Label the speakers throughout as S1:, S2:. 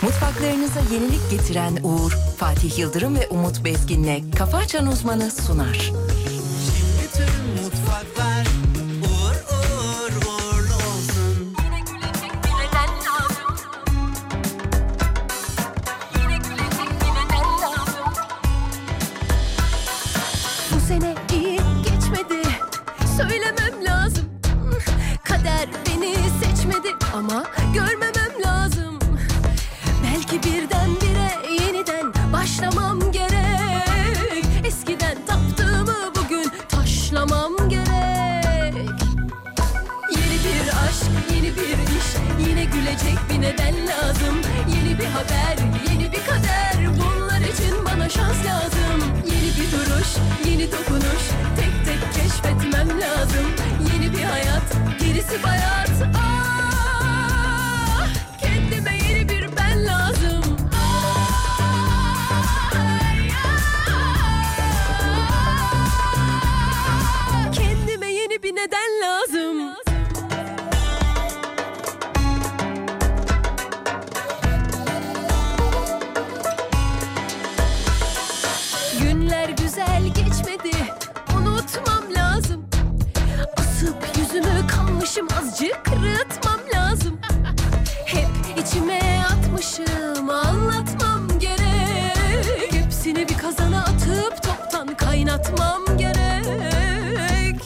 S1: Kulaklarınıza yenilik getiren Uğur, Fatih Yıldırım ve Umut Bezgin'le Kafa Açan Uzmanı sunar.
S2: Bütün mutfaklar uğur uğur uğurlu olsun.
S3: Yine gülecek bilinen lazım. Yine gülecek bilinen lazım.
S4: Bu sene iyi geçmedi Söylemem lazım Kader beni seçmedi Ama görmemem lazım Belki birdenbire yeniden başlamam gerek Eskiden taptığımı bugün taşlamam gerek Yeni bir aşk, yeni bir iş, yine gülecek bir neden lazım. Yeni bir haber, yeni bir kader, bunlar için bana şans lazım. Yeni bir duruş, yeni dokunuş, tek tek keşfetmem lazım. Yeni bir hayat, gerisi bayat. Ah, kendime yeni bir ben lazım. Ay, ah, Kendime yeni bir neden lazım. Günler güzel geçmedi Unutmam lazım Asıp yüzümü kalmışım Azıcık rıtmam lazım Hep içime atmışım Anlatmam gerek Hepsini bir kazana atıp Toptan kaynatmam gerek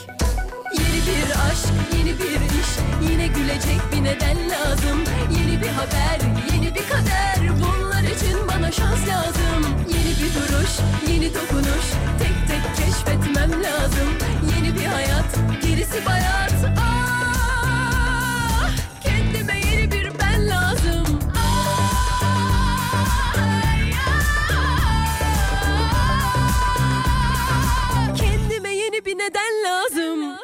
S4: Yeni bir aşk, yeni bir iş, yine gülecek bir neden lazım. Yeni bir haber, yeni bir kader, bunlar için bana şans lazım. Yeni bir duruş, yeni dokunuş, tek tek keşfetmem lazım. Yeni bir hayat, gerisi bayat. Ah, kendime yeni bir ben lazım. Ah, Ay, ah, Kendime yeni bir neden lazım.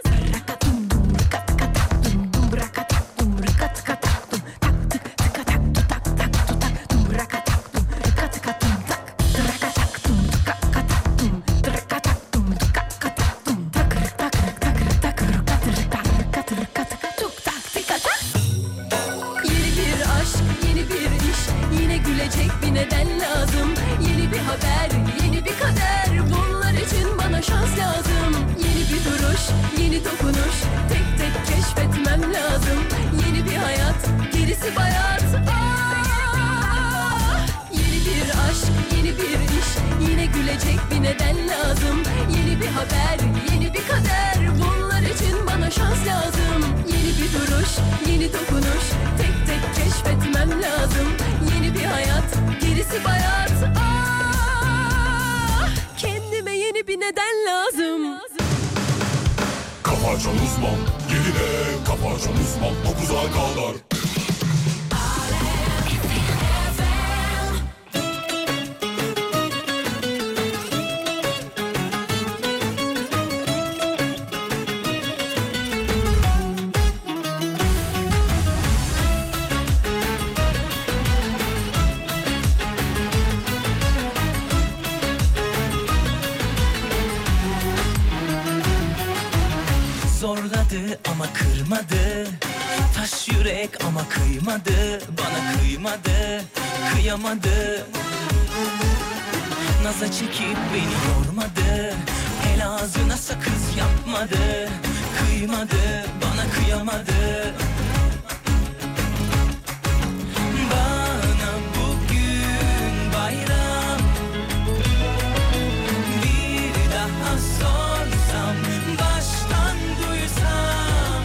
S4: Yeni bir aşk, yeni bir iş, yine gülecek bir neden lazım. Yeni bir haber, yeni bir kader, bunlar için bana şans lazım. Yeni bir duruş, yeni dokunuş, tek tek keşfetmem lazım. Yeni bir hayat, gerisi bayat. Ah! Yeni bir aşk, yeni bir iş, yine gülecek bir neden lazım. Yeni bir haber, yeni bir kader, bunlar için bana şans lazım. Yeni bir duruş, yeni dokunuş, tek tek keşfetmem lazım. Yeni bir hayat, gerisi bayat. Ah, kendime yeni bir neden lazım.
S5: Kafa Açan Uzman 7'de Kafa Açan Uzman 9'a kadar
S2: Zorladı ama kırmadı Taş yürek ama kıymadı Bana kıymadı, kıyamadı Naza çekip beni yormadı El ağzına sakız yapmadı Kıymadı, bana kıyamadı Bana bugün bayram bir daha sorsam baştan duysam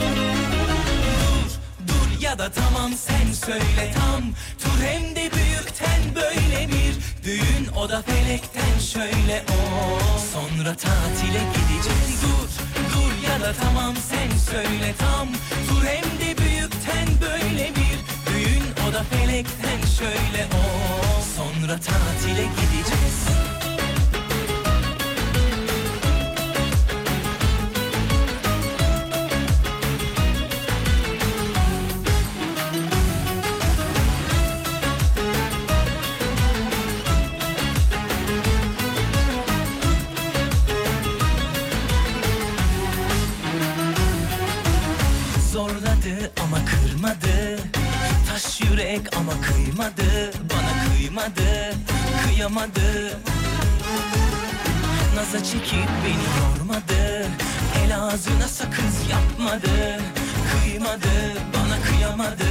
S2: Dur dur ya da tamam sen söyle tam Tur hem de büyükten böyle bir düğün o da felekten şöyle o Sonra tatile gideceğiz dur dur ya da tamam sen söyle tam Tur hem de büyükten böyle bir düğün o da felekten şöyle o Sonra tatile gideceğiz Zorladı ama kırmadı Taş yürek ama
S6: kıymadı, bana kıymadı, kıyamadı Naza çekip beni yormadı El ağzına sakız yapmadı Kıymadı, bana kıyamadı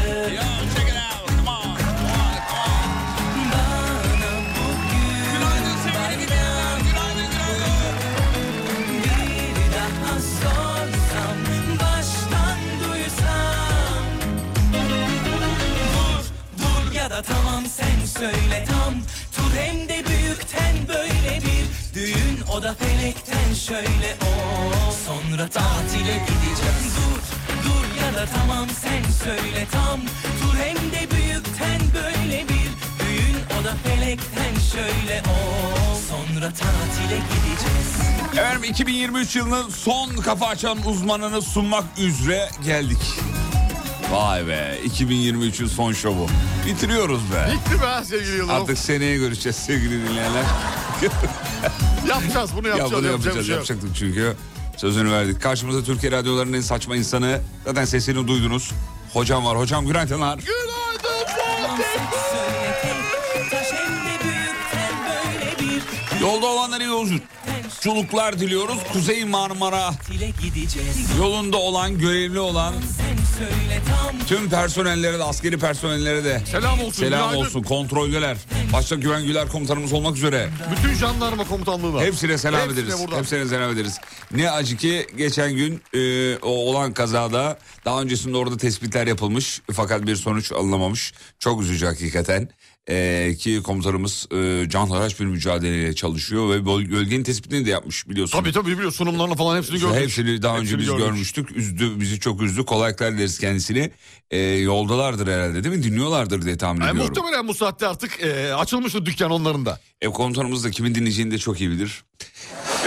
S6: Bir daha sorsam, baştan duysam Dur ya da tamam sen söyle tam Tur hem de büyükten böyle bir Düğün o da felekten şöyle o Sonra tatile gideceğiz Dur dur ya da tamam sen söyle tam Tur hem de büyükten böyle bir Düğün o da felekten şöyle o Sonra tatile gideceğiz
S5: Efendim 2023 yılının son kafa açan uzmanını sunmak üzere geldik. Vay be 2023'ün son şovu. Bitiriyoruz be.
S7: Bitti be sevgili Yıldırım.
S5: Artık seneye görüşeceğiz sevgili dinleyenler.
S7: Yapacağız bunu yapacağız.
S5: ya bunu
S7: yapacak bir
S5: yapacağız
S7: şey yok.
S5: yapacaktık çünkü. Sözünü verdik. Karşımızda Türkiye radyolarının en saçma insanı. Zaten sesini duydunuz. Hocam var. Hocam günaydınlar.
S7: Günaydın.
S5: Yolda olanlara yolculuklar diliyoruz. Kuzey Marmara yolunda olan, görevli olan tüm personellere de, askeri personellere de
S7: Selam olsun.
S5: selam
S7: günaydın.
S5: olsun. Kontroldeler. Başta Güven Güler komutanımız olmak üzere.
S7: Bütün jandarma komutanlığına.
S5: Hepsine selam
S7: Hepsine
S5: ederiz.
S7: buradan.
S5: Hepsine selam ederiz. Ne acı ki geçen gün e, o olan kazada daha öncesinde orada tespitler yapılmış fakat bir sonuç alınamamış. Çok üzücü hakikaten. E, ki komutanımız e, canhıraş bir mücadeleyle çalışıyor ve böl- bölgenin tespitini de yapmış biliyorsunuz.
S7: Tabii tabii biliyor sunumlarını falan hepsini gördük.
S5: Hepsini daha önce
S7: Hepsini
S5: biz
S7: gördük.
S5: görmüştük. Üzdü bizi çok üzdü. Kolaylıklar dileriz kendisini. E, yoldalardır herhalde değil mi? Dinliyorlardır diye tahmin
S7: Yani
S5: ediyorum.
S7: muhtemelen bu saatte artık e, açılmıştır dükkan onların da.
S5: E, komutanımız da kimin dinleyeceğini de çok iyi bilir.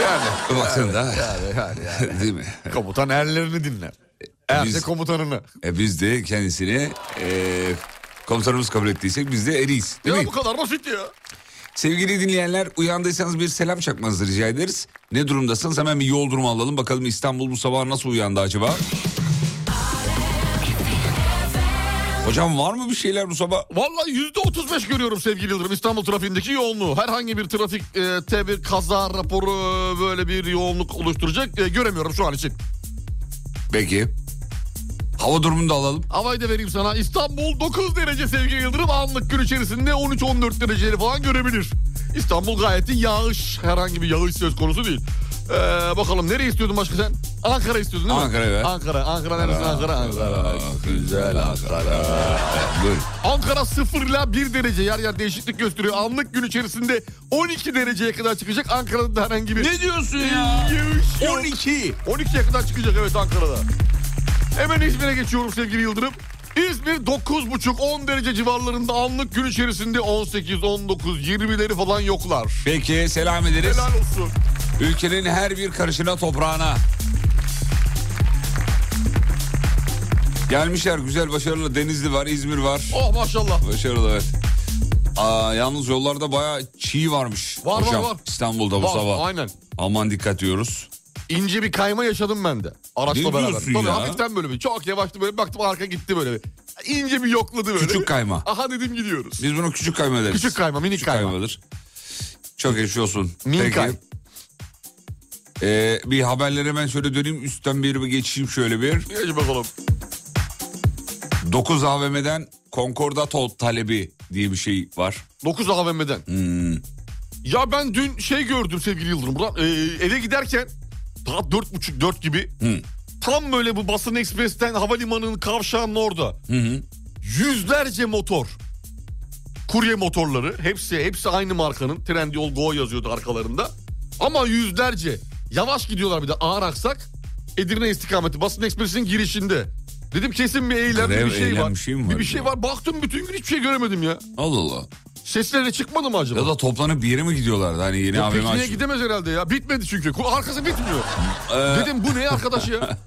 S5: Yani. Baktığında. değil mi?
S7: Komutan erlerini dinler. Er
S5: E, Biz-
S7: de komutanını.
S5: E biz de kendisini e, komutanımız kabul ettiysek biz de eriyiz. Değil
S7: ya
S5: mi?
S7: bu kadar basit ya.
S5: Sevgili dinleyenler uyandıysanız bir selam çakmanızı rica ederiz. Ne durumdasınız hemen bir yol durumu alalım. Bakalım İstanbul bu sabah nasıl uyandı acaba? Hocam var mı bir şeyler bu sabah?
S7: Vallahi yüzde 35 görüyorum sevgili Yıldırım İstanbul trafiğindeki yoğunluğu. Herhangi bir trafik e, te bir kaza raporu e, böyle bir yoğunluk oluşturacak e, göremiyorum şu an için.
S5: Peki. Hava durumunu da alalım.
S7: Havayı da vereyim sana. İstanbul 9 derece sevgili Yıldırım. Anlık gün içerisinde 13-14 dereceleri falan görebilir. İstanbul gayet de yağış. Herhangi bir yağış söz konusu değil. Ee, bakalım nereye istiyordun başka sen? Ankara istiyordun değil mi?
S5: Ankara, evet.
S7: Ankara. Ankara neresi? Ankara. Ankara.
S5: güzel Ankara. Buyurun.
S7: Ankara 0 ile 1 derece yer yer değişiklik gösteriyor. Anlık gün içerisinde 12 dereceye kadar çıkacak. Ankara'da da herhangi bir...
S5: Ne diyorsun ya?
S7: Yağış yok.
S5: 12.
S7: 12'ye kadar çıkacak evet Ankara'da. Hemen İzmir'e geçiyorum sevgili Yıldırım. İzmir 9,5-10 derece civarlarında anlık gün içerisinde 18, 19, 20'leri falan yoklar.
S5: Peki selam ederiz.
S7: Helal olsun.
S5: Ülkenin her bir karışına toprağına. Gelmişler güzel başarılı Denizli var İzmir var.
S7: Oh maşallah.
S5: Başarılı evet. Aa, yalnız yollarda bayağı çiğ varmış.
S7: Var, var,
S5: Hocam,
S7: var.
S5: İstanbul'da bu
S7: Bak,
S5: sabah.
S7: Aynen.
S5: Aman dikkat diyoruz.
S7: İnce bir kayma yaşadım ben de. Araçla
S5: Ne
S7: beraber.
S5: diyorsun
S7: Tabii
S5: ya?
S7: hafiften böyle bir. Çok yavaştı böyle. Baktım arka gitti böyle bir. İnce bir yokladı böyle.
S5: Küçük kayma.
S7: Aha dedim gidiyoruz.
S5: Biz bunu küçük kayma deriz.
S7: Küçük kayma, minik
S5: Küçük
S7: kayma.
S5: kaymadır. Çok geçmiş olsun.
S7: Minik
S5: Peki.
S7: kay.
S5: Ee, bir haberlere ben şöyle döneyim. Üstten bir, bir geçeyim şöyle bir.
S7: Geç bakalım.
S5: 9 AVM'den konkordato talebi diye bir şey var.
S7: 9 AVM'den. Hmm. Ya ben dün şey gördüm sevgili Yıldırım. Burak, Ee, eve giderken saat dört buçuk dört gibi
S5: Hı.
S7: tam böyle bu Basın Ekspres'ten havalimanının kavşağının orada
S5: Hı hı.
S7: yüzlerce motor. Kurye motorları hepsi hepsi aynı markanın Trendyol Go yazıyordu arkalarında. Ama yüzlerce yavaş gidiyorlar bir de ağır aksak Edirne istikameti Basın Ekspresi'nin girişinde. Dedim kesin bir eylem
S5: Grev,
S7: bir şey
S5: eylem,
S7: var.
S5: bir şey mi var
S7: bir şey
S5: ya?
S7: var. Baktım bütün gün hiçbir şey göremedim ya.
S5: Allah Allah.
S7: Sesleri de çıkmadı mı acaba?
S5: Ya da toplanıp bir yere mi gidiyorlardı? Hani yeni
S7: Ya
S5: AVM
S7: pikniğe
S5: açtı.
S7: gidemez herhalde ya. Bitmedi çünkü. Ku- Arkası bitmiyor.
S5: Ee,
S7: Dedim bu ne arkadaş ya?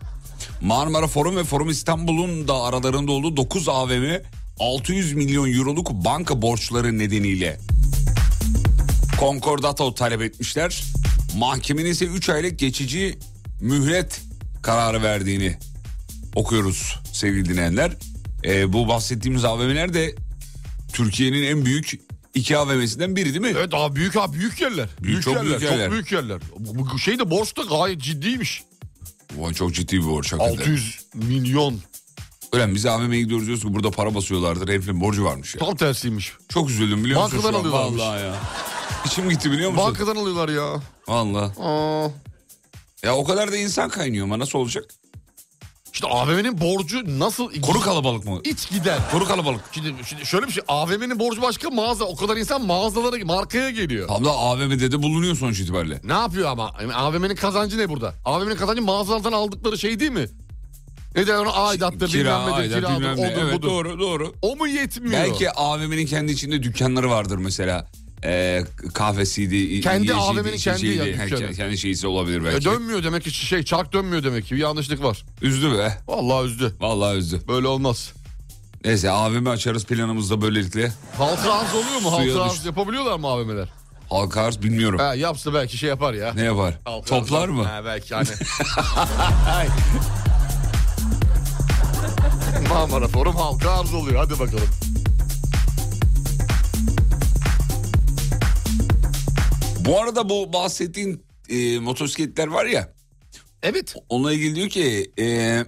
S5: Marmara Forum ve Forum İstanbul'un da aralarında olduğu 9 AVM 600 milyon euroluk banka borçları nedeniyle konkordato talep etmişler. Mahkemenin ise 3 aylık geçici mühlet kararı verdiğini okuyoruz sevgili dinleyenler. Ee, bu bahsettiğimiz AVM'ler de Türkiye'nin en büyük iki AVM'sinden biri değil mi?
S7: Evet abi büyük abi büyük yerler. Büyük,
S5: çok
S7: yerler,
S5: büyük yerler.
S7: Çok büyük yerler. Bu- bu Şey de borç da gayet ciddiymiş.
S5: Vay çok ciddi bir borç hakikaten.
S7: 600 milyon.
S5: Ulan biz AVM'ye gidiyoruz diyoruz ki burada para basıyorlardır. Herifin borcu varmış ya.
S7: Tam tersiymiş.
S5: Çok üzüldüm biliyor musun?
S7: Bankadan
S5: şu an?
S7: alıyorlarmış.
S5: Vallahi ya. İçim gitti biliyor musun?
S7: Bankadan alıyorlar ya.
S5: Vallahi.
S7: Aa.
S5: Ya o kadar da insan kaynıyor ama nasıl olacak?
S7: İşte AVM'nin borcu nasıl...
S5: Konu kalabalık mı?
S7: İç gider.
S5: Konu kalabalık.
S7: Şimdi, şimdi şöyle bir şey. AVM'nin borcu başka mağaza. O kadar insan mağazalara, markaya geliyor.
S5: Tam da AVM'de de bulunuyor sonuç itibariyle.
S7: Ne yapıyor ama? Yani AVM'nin kazancı ne burada? AVM'nin kazancı mağazalardan aldıkları şey değil mi? Ne derler ona aidattır, bilmem nedir,
S5: aidat,
S7: kiradır,
S5: bilmem ne.
S7: odur,
S5: Evet
S7: budur.
S5: doğru doğru.
S7: O mu yetmiyor? E,
S5: Belki AVM'nin kendi içinde dükkanları vardır mesela. Ee, kahvesiydi.
S7: Kendi
S5: yiyeceğiydi,
S7: AVM'nin kendi
S5: içeceğiydi.
S7: ya, dükkanı.
S5: He, şey Kendi şeysi olabilir
S7: E,
S5: belki.
S7: dönmüyor demek ki şey çark dönmüyor demek ki bir yanlışlık var.
S5: Üzdü be.
S7: Vallahi üzdü.
S5: Vallahi üzdü.
S7: Böyle olmaz.
S5: Neyse AVM açarız planımızda böylelikle.
S7: Halka arz oluyor mu?
S5: Suya
S7: Halka
S5: düştü.
S7: arz yapabiliyorlar mı AVM'ler?
S5: Halka arz bilmiyorum.
S7: He yapsa belki şey yapar ya.
S5: Ne yapar?
S7: Halka
S5: Toplar
S7: arz-
S5: mı?
S7: He belki hani. Marmara Forum halka arz oluyor. Hadi bakalım.
S5: Bu arada bu bahsettiğin e, motosikletler var ya.
S7: Evet.
S5: Onunla ilgili diyor ki e,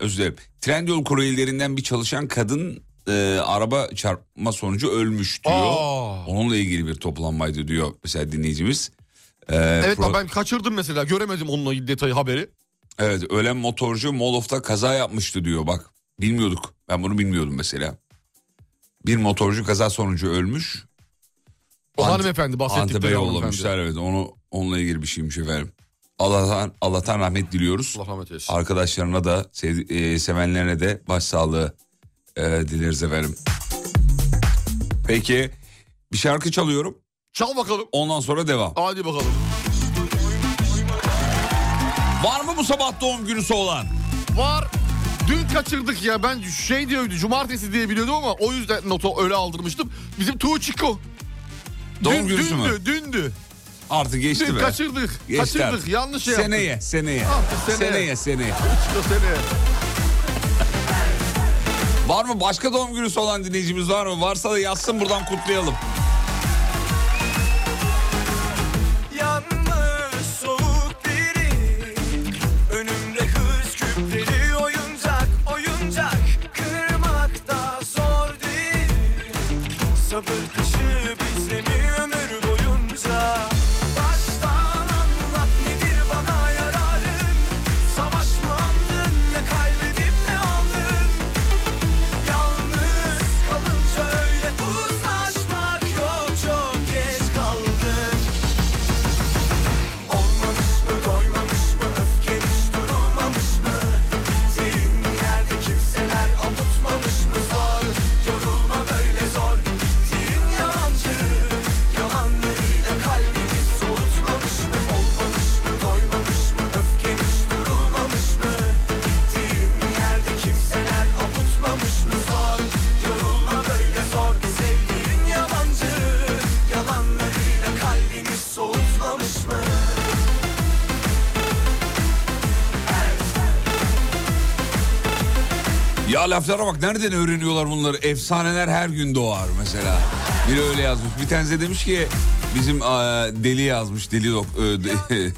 S5: özür dilerim. Trendyol kuryelerinden bir çalışan kadın e, araba çarpma sonucu ölmüş diyor.
S7: Aa.
S5: Onunla ilgili bir toplanmaydı diyor mesela dinleyicimiz. E,
S7: Evet
S5: pro-
S7: bak ben kaçırdım mesela. Göremedim onunla detayı haberi.
S5: evet ölen motorcu Molof'ta kaza yapmıştı diyor bak. Bilmiyorduk. Ben bunu bilmiyordum mesela. Bir motorcu kaza sonucu ölmüş.
S7: O
S5: Ant-
S7: hanımefendi bahsettikleri
S5: Antep'e
S7: hanımefendi.
S5: yollamışlar evet. Onu onunla ilgili bir şeymiş efendim. Allah'tan Allah'tan rahmet diliyoruz.
S7: Allah rahmet eylesin.
S5: Arkadaşlarına da sevdi- e, sevenlerine de başsağlığı e, dileriz efendim. Peki bir şarkı çalıyorum.
S7: Çal bakalım.
S5: Ondan sonra devam.
S7: Hadi bakalım.
S5: Var mı bu sabah doğum günüsü olan?
S7: Var. Dün kaçırdık ya ben şey diyordu cumartesi diye biliyordum ama o yüzden notu öyle aldırmıştım. Bizim Tuğçiko.
S5: Doğum
S7: dün,
S5: günüsü
S7: dündü,
S5: mü?
S7: Dündü.
S5: Artık geçti
S7: Dün
S5: be.
S7: kaçırdık.
S5: Geçti
S7: Kaçırdık.
S5: artık.
S7: Yanlış şey yaptık.
S5: seneye, seneye.
S7: Artık seneye.
S5: seneye, seneye.
S7: Tuğçiko seneye.
S5: Var mı başka doğum günüsü olan dinleyicimiz var mı? Varsa da yazsın buradan kutlayalım.
S6: Yanmış soğuk biri Önümde kız küpleri oyuncak oyuncak Kırmak da zor değil Sabır taşı bize mi ömür boyunca Baştan anlat nedir bana yararın Savaş mı andın ne kaybedip ne aldın Yalnız kalınca öyle uzlaşmak yok çok geç kaldık Olmamış mı doymamış mı öfkeniz durulmamış mı Gittiğim yerde kimseler avutmamış mı zor Yorulma böyle zor Gittiğin yalancı Yalanlarıyla kalbimi soğutmamış mı Olmamış mı doymamış mı öfkeniz durulmamış mı Gittiğim yerde kimseler avutmamış mı zor Yorulma böyle zor Sevdiğin yalancı Yalanlarıyla kalbimi soğutmamış mı
S5: Ya laflara bak nereden öğreniyorlar bunları? Efsaneler her gün doğar mesela. Biri öyle yazmış. Bir tanesi de demiş ki bizim aa, deli yazmış. Deli dok... ö, de-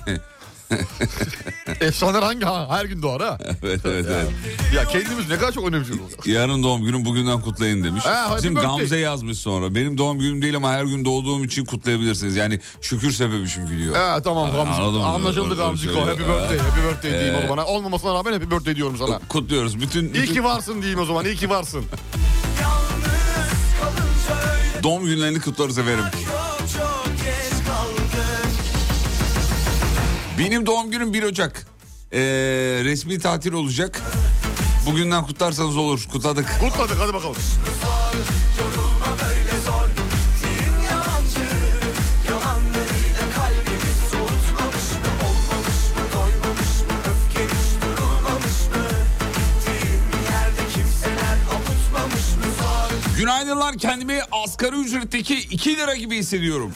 S7: Efsaneler hangi ha? Her gün doğar ha.
S5: evet evet evet.
S7: ya kendimiz ne kadar çok şey önemsiyoruz.
S5: Yarın doğum günüm bugünden kutlayın demiş.
S7: Ha, happy
S5: bizim
S7: birthday.
S5: Gamze yazmış sonra. Benim doğum günüm değil ama her gün doğduğum için kutlayabilirsiniz. Yani şükür sebebi çünkü diyor.
S7: He tamam
S5: Ha,
S7: Gamze.
S5: anladım.
S7: Anlaşıldı
S5: Öyle
S7: Gamziko.
S5: söylüyor.
S7: Happy birthday.
S5: Ha.
S7: Happy birthday diyeyim
S5: Ee.
S7: o zaman. Olmamasına rağmen happy birthday diyorum sana.
S5: Kutluyoruz. Bütün,
S7: İyi
S5: bütün
S7: ki varsın diyeyim o zaman. İyi ki varsın.
S6: Yalnız kalınca öyle
S5: doğum günlerini kutlarız efendim.
S6: çok çok geç kaldım
S5: Benim doğum günüm 1 Ocak. Ee, resmi tatil olacak. Bugünden kutlarsanız olur. Kutladık.
S7: Kutladık hadi bakalım.
S6: Yorulma böyle zor Din yalancı Yalanlarıyla kalbimi soğutmamış mı Olmamış mı doymamış mı Öfkeniz durulmamış mı Gittiğim yerde kimseler avutmamış mı Zor
S5: Günaydınlar kendimi asgari ücretteki 2 lira gibi hissediyorum.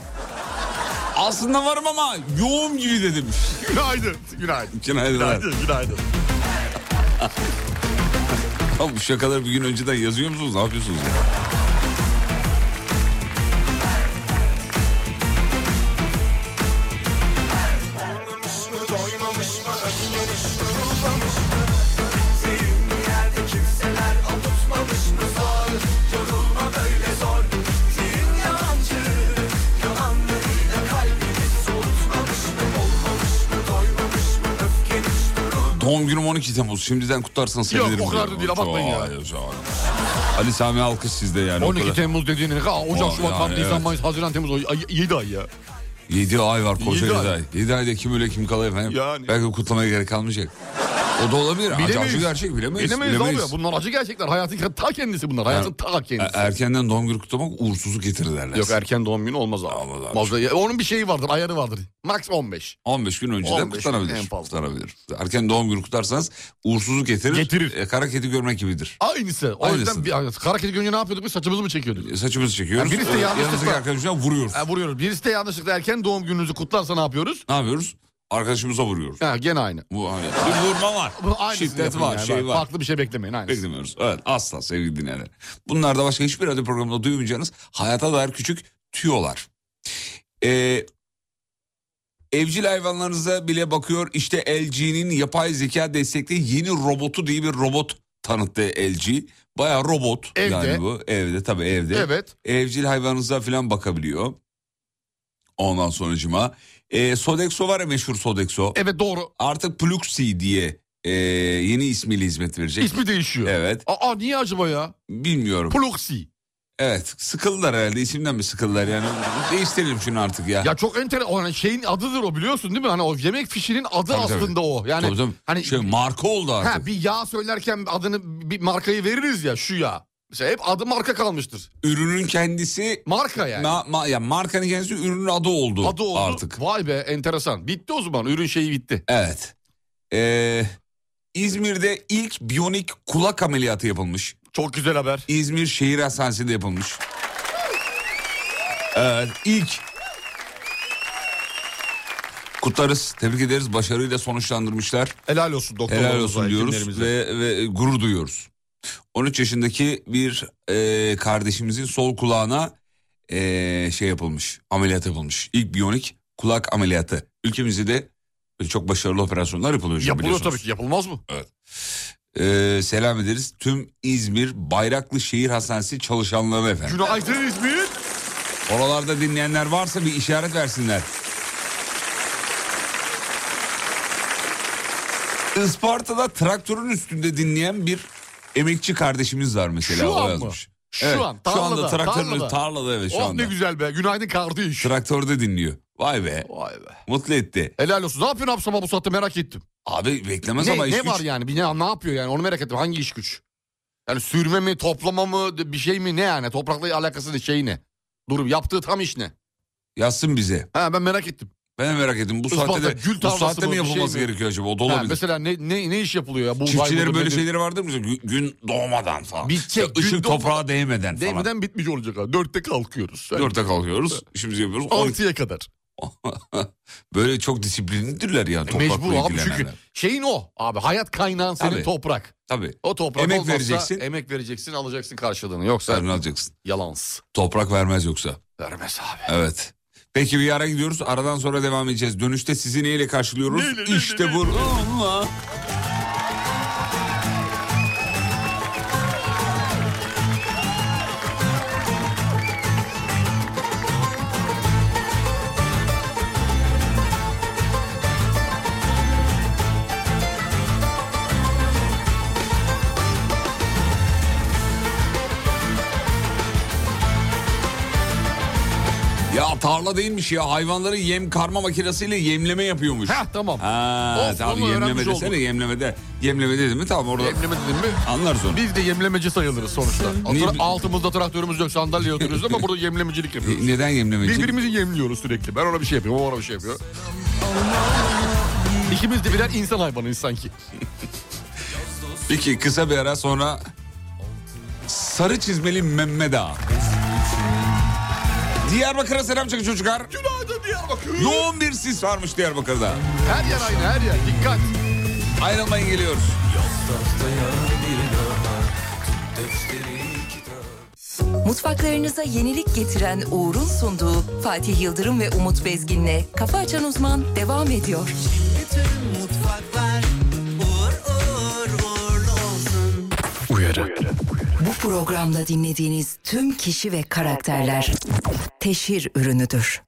S5: Aslında varım ama yoğum gibi de demiş.
S7: Günaydın. Günaydın.
S5: Günaydınlar.
S7: Günaydın. Günaydın.
S5: Tamam bu şakaları bir gün önceden yazıyor musunuz? Ne yapıyorsunuz ya? Doğum günüm 12 Temmuz. Şimdiden kutlarsanız
S7: Yok,
S5: sevinirim.
S7: o kadar da
S5: diyor.
S7: değil, abartmayın ya.
S5: Hayır, sağ olun. Ali Sami alkış sizde yani.
S7: 12 Temmuz dediğin ha, Ocak,
S5: O,
S7: Şubat,
S5: yani
S7: Mart, Nisan,
S5: evet.
S7: Mayıs, Haziran, Temmuz. O, ay, 7 ay ya.
S5: 7 ay var koca
S7: Yedi
S5: 7
S7: ay.
S5: ay. 7 ayda kim öyle kim kalır efendim.
S7: Yani.
S5: Belki kutlamaya gerek kalmayacak. O da olabilir. Acı acı gerçek bilemeyiz.
S7: Bilemeyiz, abi. Bunlar acı gerçekler. Hayatın ta kendisi bunlar. Hayatın ta
S5: E-
S7: kendisi.
S5: Erkenden doğum günü kutlamak uğursuzluk getirir derler.
S7: Yok er- erken doğum günü olmaz abi.
S5: Olmaz abi.
S7: Olmaz. Ya, Onun bir şeyi vardır, ayarı vardır. Max 15.
S5: 15 gün önceden
S7: 15 gün
S5: kutlanabilir.
S7: en fazla.
S5: Kutlanabilir. Erken doğum günü kutlarsanız uğursuzluk getirir.
S7: Getirir.
S5: E, kara kedi görmek gibidir.
S7: Aynısı. O
S5: Aynısı.
S7: yüzden bir, kara kedi günü ne yapıyorduk biz? Saçımızı mı çekiyorduk?
S5: E, Saçımızı çekiyoruz.
S7: Ya birisi de
S5: E,
S7: yanlışlıkla- E,
S5: Yanımızdaki arkadaşımıza vuruyoruz.
S7: Ha, vuruyoruz. Birisi de yanlışlıkla erken doğum gününüzü kutlarsa ne yapıyoruz?
S5: Ne yapıyoruz? Arkadaşımıza vuruyoruz.
S7: Ha, gene aynı.
S5: Bu hani bir vurma var.
S7: Bu aynısını
S5: Şiddet
S7: yapın
S5: var,
S7: yani.
S5: şey var.
S7: Farklı bir şey beklemeyin aynısı.
S5: Beklemiyoruz. Evet asla sevgili dinleyenler. Bunlar da başka hiçbir radyo programında duymayacağınız hayata dair küçük tüyolar. Ee, evcil hayvanlarınıza bile bakıyor. İşte LG'nin yapay zeka destekli yeni robotu diye bir robot tanıttı LG. Baya robot
S7: Evde.
S5: yani bu. Evde tabii evde.
S7: Evet.
S5: Evcil hayvanınıza falan bakabiliyor. Ondan sonucuma. Ee, Sodexo var ya meşhur Sodexo.
S7: Evet doğru.
S5: Artık Pluxi diye e, yeni ismiyle hizmet verecek.
S7: İsmi değişiyor.
S5: Evet.
S7: Aa niye acaba ya?
S5: Bilmiyorum.
S7: Pluxi.
S5: Evet sıkıldılar herhalde isimden mi sıkıldılar yani değiştirelim şunu artık ya.
S7: Ya çok enteresan. O hani şeyin adıdır o biliyorsun değil mi? Hani o yemek fişinin adı
S5: Tabii, tabii.
S7: aslında o. Yani
S5: Tabii, tabii.
S7: hani
S5: şey marka oldu artık.
S7: ha, bir yağ söylerken adını bir markayı veririz ya şu yağ. Mesela hep adı marka kalmıştır.
S5: Ürünün kendisi
S7: Marka yani.
S5: ma, ma- ya markanın kendisi ürünün adı oldu,
S7: adı oldu.
S5: artık.
S7: Vay be enteresan. Bitti o zaman. Ürün şeyi bitti.
S5: Evet. Ee, İzmir'de ilk biyonik kulak ameliyatı yapılmış.
S7: Çok güzel haber.
S5: İzmir Şehir Hastanesi'nde yapılmış. Evet ilk. Kutlarız, tebrik ederiz. Başarıyla sonuçlandırmışlar.
S7: Helal olsun doktorlarımıza.
S5: Helal olsun diyoruz
S7: hekimlerimize.
S5: ve, ve gurur duyuyoruz. 13 yaşındaki bir e, kardeşimizin sol kulağına e, şey yapılmış, ameliyat yapılmış. İlk biyonik kulak ameliyatı. Ülkemizde de çok başarılı operasyonlar yapılıyor. hocam,
S7: Yapılıyor
S5: biliyorsunuz.
S7: tabii ki. Yapılmaz mı?
S5: E, selam ederiz tüm İzmir Bayraklı Şehir Hastanesi çalışanlarına efendim.
S7: Günaydın İzmir.
S5: Oralarda dinleyenler varsa bir işaret versinler. Isparta'da traktörün üstünde dinleyen bir emekçi kardeşimiz var mesela.
S7: Şu
S5: o
S7: an mı?
S5: yazmış.
S7: Şu
S5: Evet,
S7: an.
S5: şu
S7: Tarlada.
S5: anda traktörün tarlada.
S7: tarlada.
S5: evet şu
S7: Oh
S5: anda.
S7: ne güzel be. Günaydın kardeş.
S5: Traktörde dinliyor. Vay be.
S7: Vay be.
S5: Mutlu etti.
S7: Helal olsun. Ne yapıyorsun Absama bu saatte merak ettim.
S5: Abi beklemez
S7: Ne,
S5: ama iş
S7: ne
S5: güç.
S7: var yani? Bir ne, ne yapıyor yani? Onu merak ettim. Hangi iş güç? Yani sürme mi, toplama mı, bir şey mi ne yani? Toprakla alakası ne, şey ne? Dur yaptığı tam iş ne?
S5: Yazsın bize.
S7: Ha ben merak ettim.
S5: Ben de merak ettim. Bu
S7: Isparta,
S5: saatte de
S7: gül
S5: bu
S7: tarlası
S5: saatte
S7: mı,
S5: mi
S7: bir şey
S5: yapılması
S7: mi?
S5: gerekiyor acaba? O da
S7: Ha,
S5: olabilir.
S7: mesela ne, ne, ne iş yapılıyor ya? Bu
S5: Çiftçilerin
S7: Bayburt'un
S5: böyle
S7: nedir?
S5: şeyleri vardır mı? Gün- Gün doğmadan falan.
S7: Bitecek,
S5: İşte
S7: şey, gün
S5: Işık
S7: doğmadan-
S5: toprağa değmeden falan.
S7: Değmeden bitmiş olacak ha. Dörtte kalkıyoruz. Yani
S5: Dörtte kalkıyoruz. İşimizi yapıyoruz. On-
S7: Altıya kadar.
S5: Böyle çok disiplinlidirler ya toprakla
S7: E, Mecbur abi
S5: ilgilenenler.
S7: çünkü şeyin o abi hayat kaynağın senin
S5: Tabii.
S7: toprak.
S5: Tabii.
S7: O toprak
S5: Emek
S7: olmazsa
S5: vereceksin.
S7: emek vereceksin alacaksın karşılığını yoksa
S5: Sen ne alacaksın?
S7: yalans.
S5: Toprak vermez yoksa.
S7: Vermez abi.
S5: Evet. Peki bir ara gidiyoruz. Aradan sonra devam edeceğiz. Dönüşte sizi neyle karşılıyoruz? işte bu. Allah. Ya tarla değilmiş ya. Hayvanları yem karma makinesiyle yemleme yapıyormuş.
S7: Heh tamam.
S5: Ha,
S7: Of,
S5: tamam
S7: onu
S5: yemleme
S7: öğrenmiş olduk.
S5: desene yemlemede. Yemleme dedim mi tamam orada
S7: Yemleme dedim mi?
S5: anlarız onu.
S7: Biz de yemlemeci sayılırız sonuçta. O
S5: Niye-
S7: tra- altımızda traktörümüz yok sandalye oturuyoruz ama burada yemlemecilik yapıyoruz.
S5: Neden yemlemeci?
S7: Birbirimizi yemliyoruz sürekli. Ben ona bir şey yapıyorum, o ona bir şey yapıyor. İkimiz de birer insan hayvanıyız sanki.
S5: Peki kısa bir ara sonra sarı çizmeli Mehmet Ağa. Diyarbakır'a selam çakın çocuklar.
S7: Günaydın Diyarbakır.
S5: Yoğun bir sis varmış Diyarbakır'da.
S7: Her yer aynı her yer. Dikkat.
S5: Ayrılmayın geliyoruz.
S1: Mutfaklarınıza yenilik getiren Uğur'un sunduğu Fatih Yıldırım ve Umut Bezgin'le Kafa Açan Uzman devam ediyor.
S6: Bütün mutfaklar uğur uğur uğurlu olsun
S1: Bu programda dinlediğiniz tüm kişi ve karakterler teşhir ürünüdür.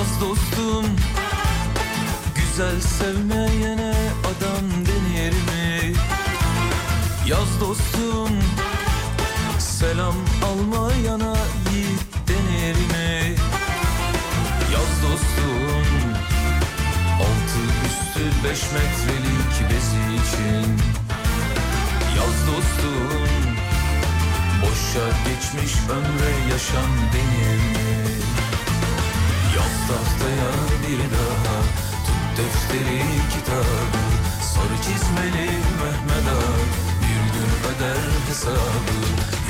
S6: az dostum Güzel sevmeyene adam denir mi? Yaz dostum Selam almayana yiğit denir mi? Yaz dostum Altı üstü beş metrelik bezi için Yaz dostum Boşa geçmiş ömre yaşam denir mi? Yaz tahtaya bir daha Tut defteri kitabı Sarı çizmeli Mehmet Ağa Bir gün öder hesabı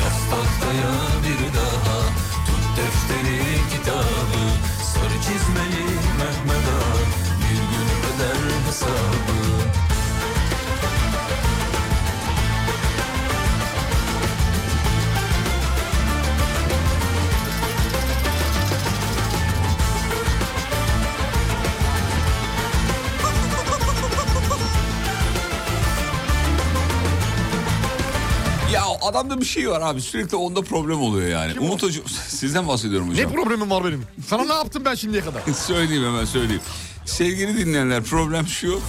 S6: Yaz tahtaya bir daha Tut defteri kitabı Sarı çizmeli Mehmet Ağa Bir gün öder hesabı
S5: Ya adamda bir şey var abi sürekli onda problem oluyor yani. Umut hocam sizden bahsediyorum
S7: Ne
S5: hocam.
S7: problemim var benim? Sana ne yaptım ben şimdiye kadar?
S5: söyleyeyim hemen söyleyeyim. Sevgili dinleyenler problem şu.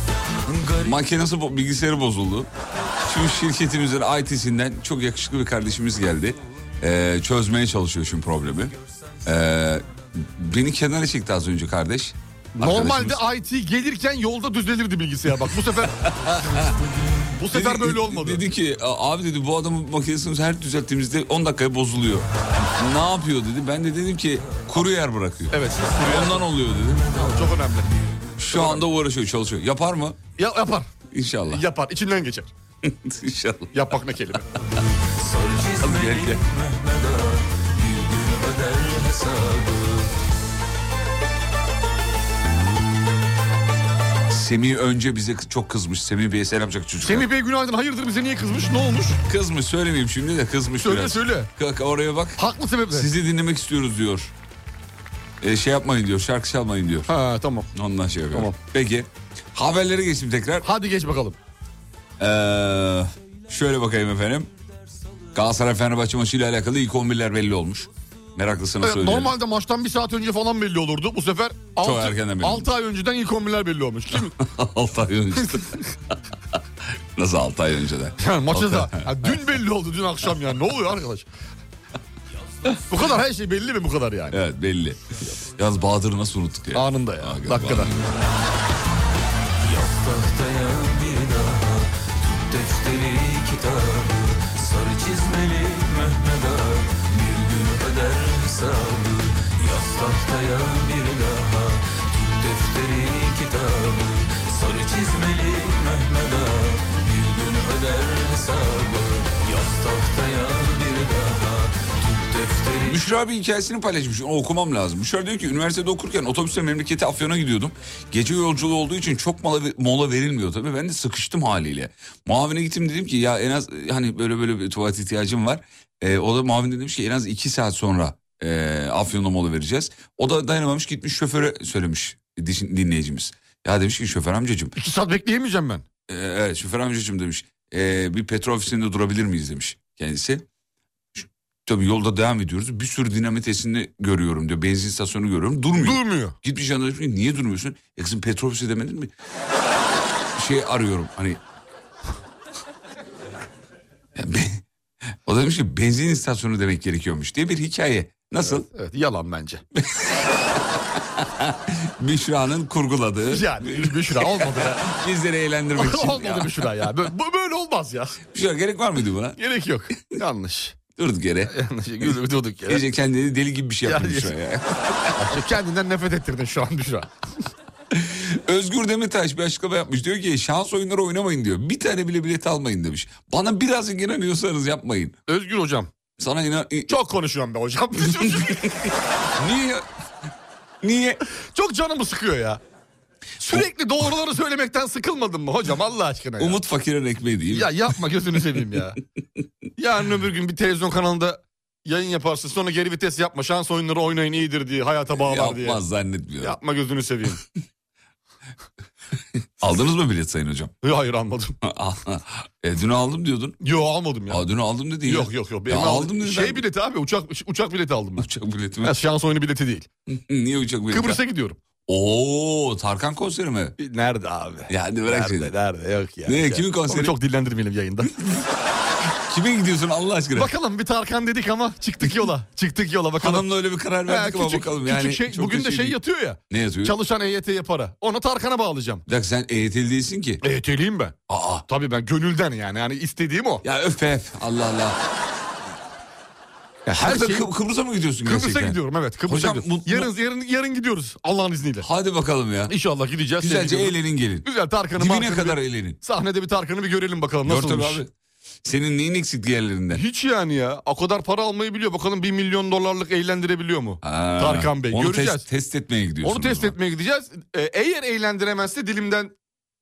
S5: Makinesi bo- bilgisayarı bozuldu. Şimdi şirketimizin IT'sinden çok yakışıklı bir kardeşimiz geldi. Ee, çözmeye çalışıyor şimdi problemi. Ee, beni kenara çekti az önce kardeş. Arkadaşımız.
S7: Normalde IT gelirken yolda düzelirdi bilgisayar bak. Bu sefer bu
S5: Dedi-
S7: sefer böyle olmadı.
S5: Dedi ki "A- abi dedi bu adamın makinesini her düzelttiğimizde 10 dakikaya bozuluyor. ne yapıyor dedi. Ben de dedim ki kuru yer bırakıyor.
S7: Evet.
S5: Ondan oluyor dedim.
S7: Çok önemli.
S5: Şu anda uğraşıyor çalışıyor. Yapar mı?
S7: Ya, yapar.
S5: İnşallah.
S7: Yapar. İçinden geçer.
S5: İnşallah.
S7: Yapmak ne kelime.
S5: Gel gel. Semih önce bize kı- çok kızmış. Semih Bey'e selam çak çocuklar.
S7: Semih Bey günaydın. Hayırdır bize niye kızmış? Ne olmuş?
S5: kızmış söylemeyeyim şimdi de kızmış
S7: Söyle,
S5: biraz.
S7: söyle.
S5: Kalk oraya bak.
S7: Haklı sebeple.
S5: Sizi dinlemek istiyoruz diyor. E, şey yapmayın diyor şarkı çalmayın diyor.
S7: Ha tamam.
S5: Ondan şey yapıyor.
S7: Tamam.
S5: Peki haberlere geçtim tekrar.
S7: Hadi geç bakalım.
S5: Ee, şöyle bakayım efendim. Galatasaray Fenerbahçe maçıyla alakalı ilk 11'ler belli olmuş. Meraklısına
S7: Evet,
S5: söylüyorum.
S7: normalde maçtan bir saat önce falan belli olurdu. Bu sefer
S5: erkenden
S7: 6,
S5: belli
S7: ay önceden ilk kombiler belli olmuş. Kim?
S5: 6 ay önce. Nasıl 6 ay önceden?
S7: Yani maçı da
S5: Altı ay-
S7: ya dün belli oldu dün akşam yani. Ne oluyor arkadaş? bu kadar her şey belli mi bu kadar yani?
S5: Evet belli. Yalnız Bahadır'ı nasıl unuttuk ya?
S7: Anında ya.
S5: Hakikaten
S7: dakikada.
S5: Bahadır.
S6: Tahtaya bir daha Tut defteri kitabı Sarı çizmeli Mehmet Ağa Bir gün öder hesabı Yaz tahtaya bir daha Tut defteri kitabı Sarı çizmeli Mehmet Ağa Bir gün öder hesabı Yaz tahtaya bir daha Tut defteri
S5: Müşra bir hikayesini paylaşmış. Onu okumam lazım. Müşra diyor ki üniversitede okurken otobüsle memleketi Afyon'a gidiyordum. Gece yolculuğu olduğu için çok mola, mola verilmiyor tabii. Ben de sıkıştım haliyle. Muavine gittim dedim ki ya en az e, hani böyle böyle bir tuvalet ihtiyacım var. E, o da muavin de demiş ki en az iki saat sonra e, Afyon'da mola vereceğiz. O da dayanamamış gitmiş şoföre söylemiş dişin- dinleyicimiz. Ya demiş ki şoför amcacığım
S7: İki saat bekleyemeyeceğim ben.
S5: e, evet şoför amcacığım demiş. "e, bir petrol ofisinde durabilir miyiz demiş kendisi. Ş- Tabii yolda devam ediyoruz. Bir sürü dinamit esini görüyorum diyor. Benzin istasyonu görüyorum. Durmuyor.
S7: Durmuyor.
S5: Gitmiş yanına demiş ki, niye durmuyorsun? E kızım petrol ofisi demedin mi? şey arıyorum hani. Ya be- o da demiş ki benzin istasyonu demek gerekiyormuş diye bir hikaye. Nasıl?
S7: Evet yalan bence.
S5: Büşra'nın kurguladığı.
S7: Yani Büşra olmadı ya.
S5: Bizleri eğlendirmek için.
S7: olmadı
S5: Ya,
S7: Büşra ya. Böyle, bu- böyle olmaz ya.
S5: Büşra gerek var mıydı buna?
S7: Gerek yok. Yanlış.
S5: Durduk yere.
S7: Yanlış. Güldük durduk yere.
S5: Gece kendini deli gibi bir şey yaptı
S7: Yani-
S5: Büşra ya.
S7: Kendinden nefret ettirdin şu an Büşra.
S5: Özgür Demirtaş bir açıklama yapmış. Diyor ki şans oyunları oynamayın diyor. Bir tane bile bilet almayın demiş. Bana biraz inanıyorsanız yapmayın.
S7: Özgür hocam.
S5: Sana inan... i-
S7: Çok konuşuyorum be hocam.
S5: Niye? Niye?
S7: Çok canımı sıkıyor ya. Sürekli doğruları söylemekten sıkılmadın mı hocam Allah aşkına ya.
S5: Umut fakirin ekmeği değil.
S7: Ya yapma gözünü seveyim ya. Yarın öbür gün bir televizyon kanalında yayın yaparsın sonra geri vites yapma şans oyunları oynayın iyidir diye hayata bağlar diye.
S5: Yapmaz zannetmiyorum.
S7: Yapma gözünü seveyim.
S5: Aldınız mı bilet sayın hocam?
S7: Yo, Hayır almadım.
S5: e, dün aldım diyordun.
S7: Yo almadım ya.
S5: Aa, dün aldım dedi. ya.
S7: Yok yok yok.
S5: Ya
S7: Benim
S5: aldım dedi.
S7: Şey
S5: ben.
S7: bileti abi uçak uçak bileti aldım ben.
S5: Uçak bileti mi?
S7: Ya, şans oyunu bileti değil.
S5: Niye uçak bileti?
S7: Kıbrıs'a gidiyorum.
S5: Oo Tarkan konseri mi?
S7: Nerede abi?
S5: Ya hadi bırak
S7: nerede,
S5: seni.
S7: nerede yok ya.
S5: Ne,
S7: Ya.
S5: kimin konseri?
S7: Onu çok dillendirmeyelim yayında.
S5: Kime gidiyorsun Allah aşkına?
S7: bakalım bir Tarkan dedik ama çıktık yola. Çıktık yola bakalım.
S5: Hanımla öyle bir karar
S7: Ha,
S5: verdik ama bakalım. Yani
S7: küçük şey,
S5: çok
S7: bugün
S5: da
S7: de şey
S5: değil.
S7: yatıyor ya.
S5: Ne yazıyor?
S7: Çalışan EYT'ye para. Onu Tarkan'a bağlayacağım.
S5: Bir dakika sen EYT'li değilsin ki.
S7: EYT'liyim ben.
S5: Aa.
S7: Tabii ben gönülden yani. Yani istediğim o.
S5: Ya öf öf Allah Allah.
S7: Ya
S5: Her
S7: her
S5: Kı-
S7: şey
S5: Kıbrıs'a mı gidiyorsun
S7: Kıbrıs'a
S5: gerçekten?
S7: gidiyorum evet. Kıbrıs'a
S5: Hocam,
S7: gidiyorum.
S5: mutlu-
S7: Yarın, yarın, yarın gidiyoruz Allah'ın izniyle.
S5: Hadi bakalım ya.
S7: İnşallah gideceğiz.
S5: Güzelce
S7: sevgili-
S5: eğlenin gelin.
S7: Güzel Tarkan'ı
S5: Dibine
S7: markanı
S5: kadar
S7: bir-
S5: eğlenin.
S7: Sahnede bir Tarkan'ı bir görelim bakalım
S5: Dört
S7: nasılmış.
S5: abi. Senin neyin eksik diğerlerinden?
S7: Hiç yani ya. O kadar para almayı biliyor. Bakalım 1 milyon dolarlık eğlendirebiliyor mu?
S5: Ha,
S7: Tarkan Bey.
S5: Onu
S7: Göreceğiz.
S5: Test, test etmeye gidiyorsun.
S7: Onu
S5: o
S7: test
S5: zaman.
S7: etmeye gideceğiz. Ee, eğer eğlendiremezse dilimden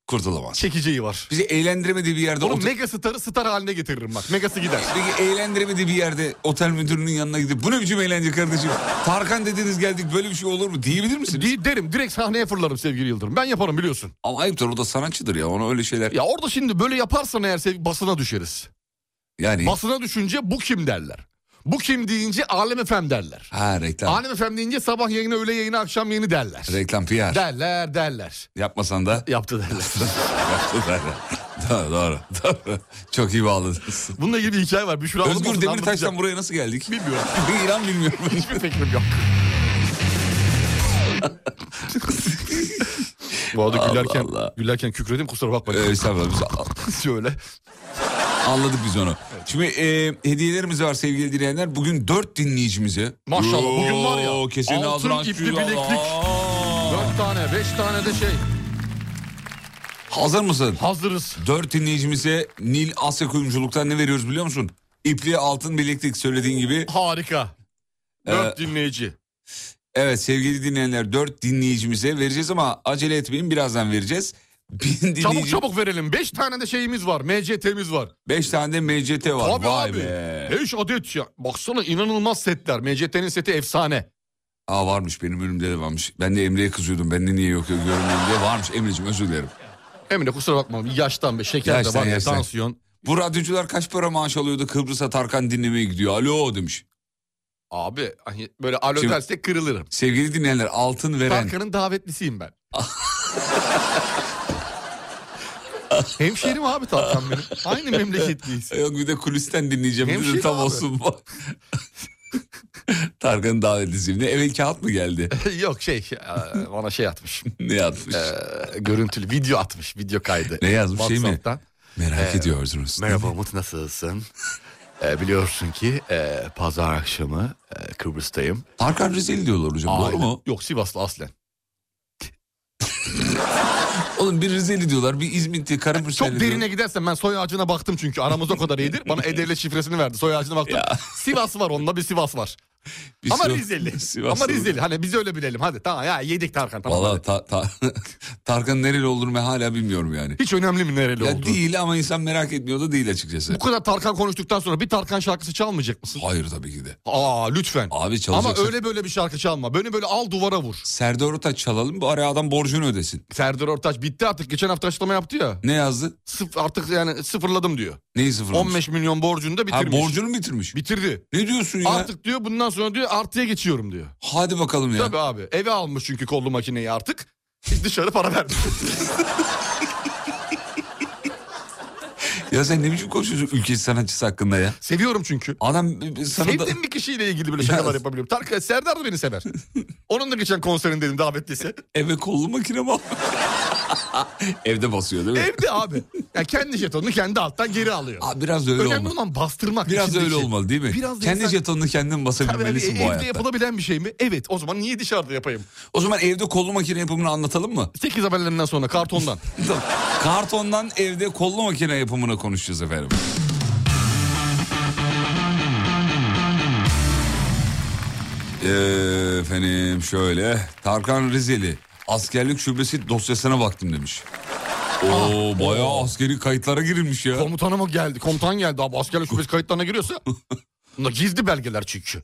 S5: Kurtulamaz.
S7: çekeceği var.
S5: Bizi eğlendiremediği bir yerde...
S7: Oğlum
S5: otel-
S7: mega starı star haline getiririm bak. Megası gider.
S5: Peki eğlendiremediği bir yerde otel müdürünün yanına gidip bu ne biçim eğlence kardeşim? Tarkan dediniz geldik böyle bir şey olur mu diyebilir misiniz?
S7: Di- derim direkt sahneye fırlarım sevgili Yıldırım. Ben yaparım biliyorsun.
S5: Ama ayıptır o da sanatçıdır ya ona öyle şeyler.
S7: Ya orada şimdi böyle yaparsan eğer sevgili basına düşeriz.
S5: Yani
S7: Basına düşünce bu kim derler. Bu kim deyince Alem Efem derler.
S5: ha reklam.
S7: Alem Efem deyince sabah yayını, öğle yayını, akşam yayını derler.
S5: Reklam PR.
S7: Derler derler.
S5: Yapmasan da.
S7: Yaptı derler.
S5: Yaptı da. doğru, doğru, doğru. Çok iyi bağladınız.
S7: Bununla ilgili bir hikaye var. Büşra Hanım'ın
S5: Özgür
S7: bunu
S5: Demirtaş'tan
S7: anlatacağım.
S5: buraya nasıl geldik?
S7: Bilmiyorum.
S5: İnan bilmiyorum.
S7: Hiçbir fikrim yok. Bu arada
S5: Allah
S7: gülerken,
S5: Allah.
S7: gülerken kükredim kusura bakma.
S5: Ee, estağfurullah, biz a-
S7: Şöyle.
S5: Anladık biz onu. Şimdi e, hediyelerimiz var sevgili dinleyenler. Bugün dört dinleyicimize.
S7: Maşallah, bugün var ya,
S5: Yoo, Kesin
S7: altın
S5: ağzını aç,
S7: ipli
S5: yüzü al.
S7: bileklik.
S5: Aa.
S7: Dört tane, beş tane de şey.
S5: Hazır mısın?
S7: Hazırız.
S5: Dört dinleyicimize Nil Asya Kuyumculuk'tan ne veriyoruz biliyor musun? İpli altın bileklik söylediğin gibi.
S7: Harika. Dört
S5: Ee,
S7: dinleyici.
S5: Evet sevgili dinleyenler dört dinleyicimize vereceğiz ama acele etmeyin birazdan vereceğiz. Bin dinleyici,
S7: Çabuk çabuk verelim. Beş tane de şeyimiz var. MCT'miz var.
S5: Beş tane de MCT var.
S7: Tabii
S5: Vay
S7: abi.
S5: be.
S7: Beş adet ya. Baksana inanılmaz setler. MCT'nin seti efsane.
S5: Aa varmış benim önümde de varmış. Ben de Emre'ye kızıyordum. Ben de niye yok yok görmüyorum diye. Varmış Emre'ciğim özür dilerim.
S7: Emine kusura bakma. Yaştan be. Şeker
S5: Yaştan,
S7: de var. ya,
S5: yaştan.
S7: Tansiyon.
S5: Bu radyocular kaç para maaş alıyordu Kıbrıs'a Tarkan dinlemeye gidiyor. Alo demiş.
S7: Abi hani böyle alo
S5: Şimdi-
S7: derse kırılırım.
S5: Sevgili dinleyenler altın veren.
S7: Tarkan'ın davetlisiyim ben. Hemşerim abi Tarkan benim. Aynı memleketliyiz.
S5: Yok bir de kulisten dinleyeceğim. Bir de
S7: Hemşire
S5: tam
S7: abi.
S5: olsun. bu. Tarkan'ın davetlisiyim. Ne eve kağıt mı geldi?
S7: Yok şey e, bana şey atmış.
S5: Ne yazmış?
S7: E, görüntülü video atmış. Video kaydı.
S5: Ne yazmış, şey mi?
S7: WhatsApp'tan.
S5: Merak ediyorsunuz.
S7: e, Merhaba Umut nasılsın? E, biliyorsun ki e, pazar akşamı e, Kıbrıs'tayım.
S5: Tarkan Rizeli diyorlar hocam. Doğru
S7: Aynen.
S5: mu?
S7: Yok Sivaslı aslen.
S5: Oğlum bir Rizeli diyorlar. Bir İzmitli
S7: Çok
S5: Karabürsel'li
S7: derine gidersen ben soy ağacına baktım çünkü aramız o kadar iyidir. Bana E-Devlet şifresini verdi soy ağacına baktım.
S5: Ya.
S7: Sivas var onda bir Sivas var.
S5: Bir şey
S7: Ama
S5: Sivas-
S7: Rizeli.
S5: Sivaslı.
S7: Ama Rizeli. Hani biz öyle bilelim. Hadi tamam ya yedik Tarkan. Tamam.
S5: Valla
S7: hadi.
S5: ta, ta, Tarkan'ın nereli olduğunu ben hala bilmiyorum yani.
S7: Hiç önemli mi nereli
S5: Ya
S7: oldu?
S5: değil ama insan merak etmiyor da değil açıkçası.
S7: Bu kadar Tarkan konuştuktan sonra bir Tarkan şarkısı çalmayacak mısın?
S5: Hayır tabii ki de.
S7: Aa lütfen.
S5: Abi
S7: Ama
S5: çalacaksın.
S7: öyle böyle bir şarkı çalma. Böyle böyle al duvara vur.
S5: Serdar Ortaç çalalım bu araya adam borcunu ödesin.
S7: Serdar Ortaç bitti artık. Geçen hafta açıklama yaptı ya.
S5: Ne yazdı?
S7: Sıf- artık yani sıfırladım diyor.
S5: Neyi sıfırlamış?
S7: 15 milyon borcunu da
S5: ha,
S7: bitirmiş.
S5: borcunu mu bitirmiş.
S7: Bitirdi.
S5: ne diyorsun ya?
S7: Artık diyor bundan sonra diyor artıya geçiyorum diyor.
S5: Hadi bakalım ya.
S7: Tabii abi. Eve almış çünkü kollu makineyi artık. Hiç dışarı para vermiyor.
S5: Ya sen ne biçim konuşuyorsun ülke sanatçısı hakkında ya?
S7: Seviyorum çünkü.
S5: Adam e, e, sana da...
S7: Sevdiğim bir kişiyle ilgili böyle şakalar
S5: Ya-
S7: yapabiliyorum. Tarkan Serdar da beni sever. Onun da geçen konserindeydim davetlisi.
S5: eve kollu makine mi almış? Evde basıyor değil mi?
S7: Evde abi. Yani kendi jetonunu kendi alttan geri alıyor.
S5: Aa, biraz da öyle
S7: Önemli
S5: olmalı.
S7: olan bastırmak.
S5: Biraz da
S7: içindeki.
S5: öyle olmalı değil mi?
S7: Biraz da
S5: Kendi
S7: insan-
S5: jetonunu kendin
S7: Tabii abi,
S5: basabilmelisin bu
S7: evde
S5: hayatta.
S7: yapılabilen bir şey mi? Evet o zaman niye dışarıda yapayım?
S5: O zaman evde kollu makine yapımını anlatalım mı?
S7: 8 haberlerinden sonra kartondan.
S5: Tamam. Kartondan evde kollu makine yapımını konuşacağız efendim. Ee, Efendim şöyle Tarkan Rizeli askerlik şubesi dosyasına baktım demiş.
S7: Ah,
S5: Oo bayağı
S7: oh.
S5: askeri kayıtlara girilmiş ya.
S7: Komutanıma geldi. Komutan geldi abi askerlik şubesi kayıtlarına giriyorsa. Bunda gizli belgeler çünkü.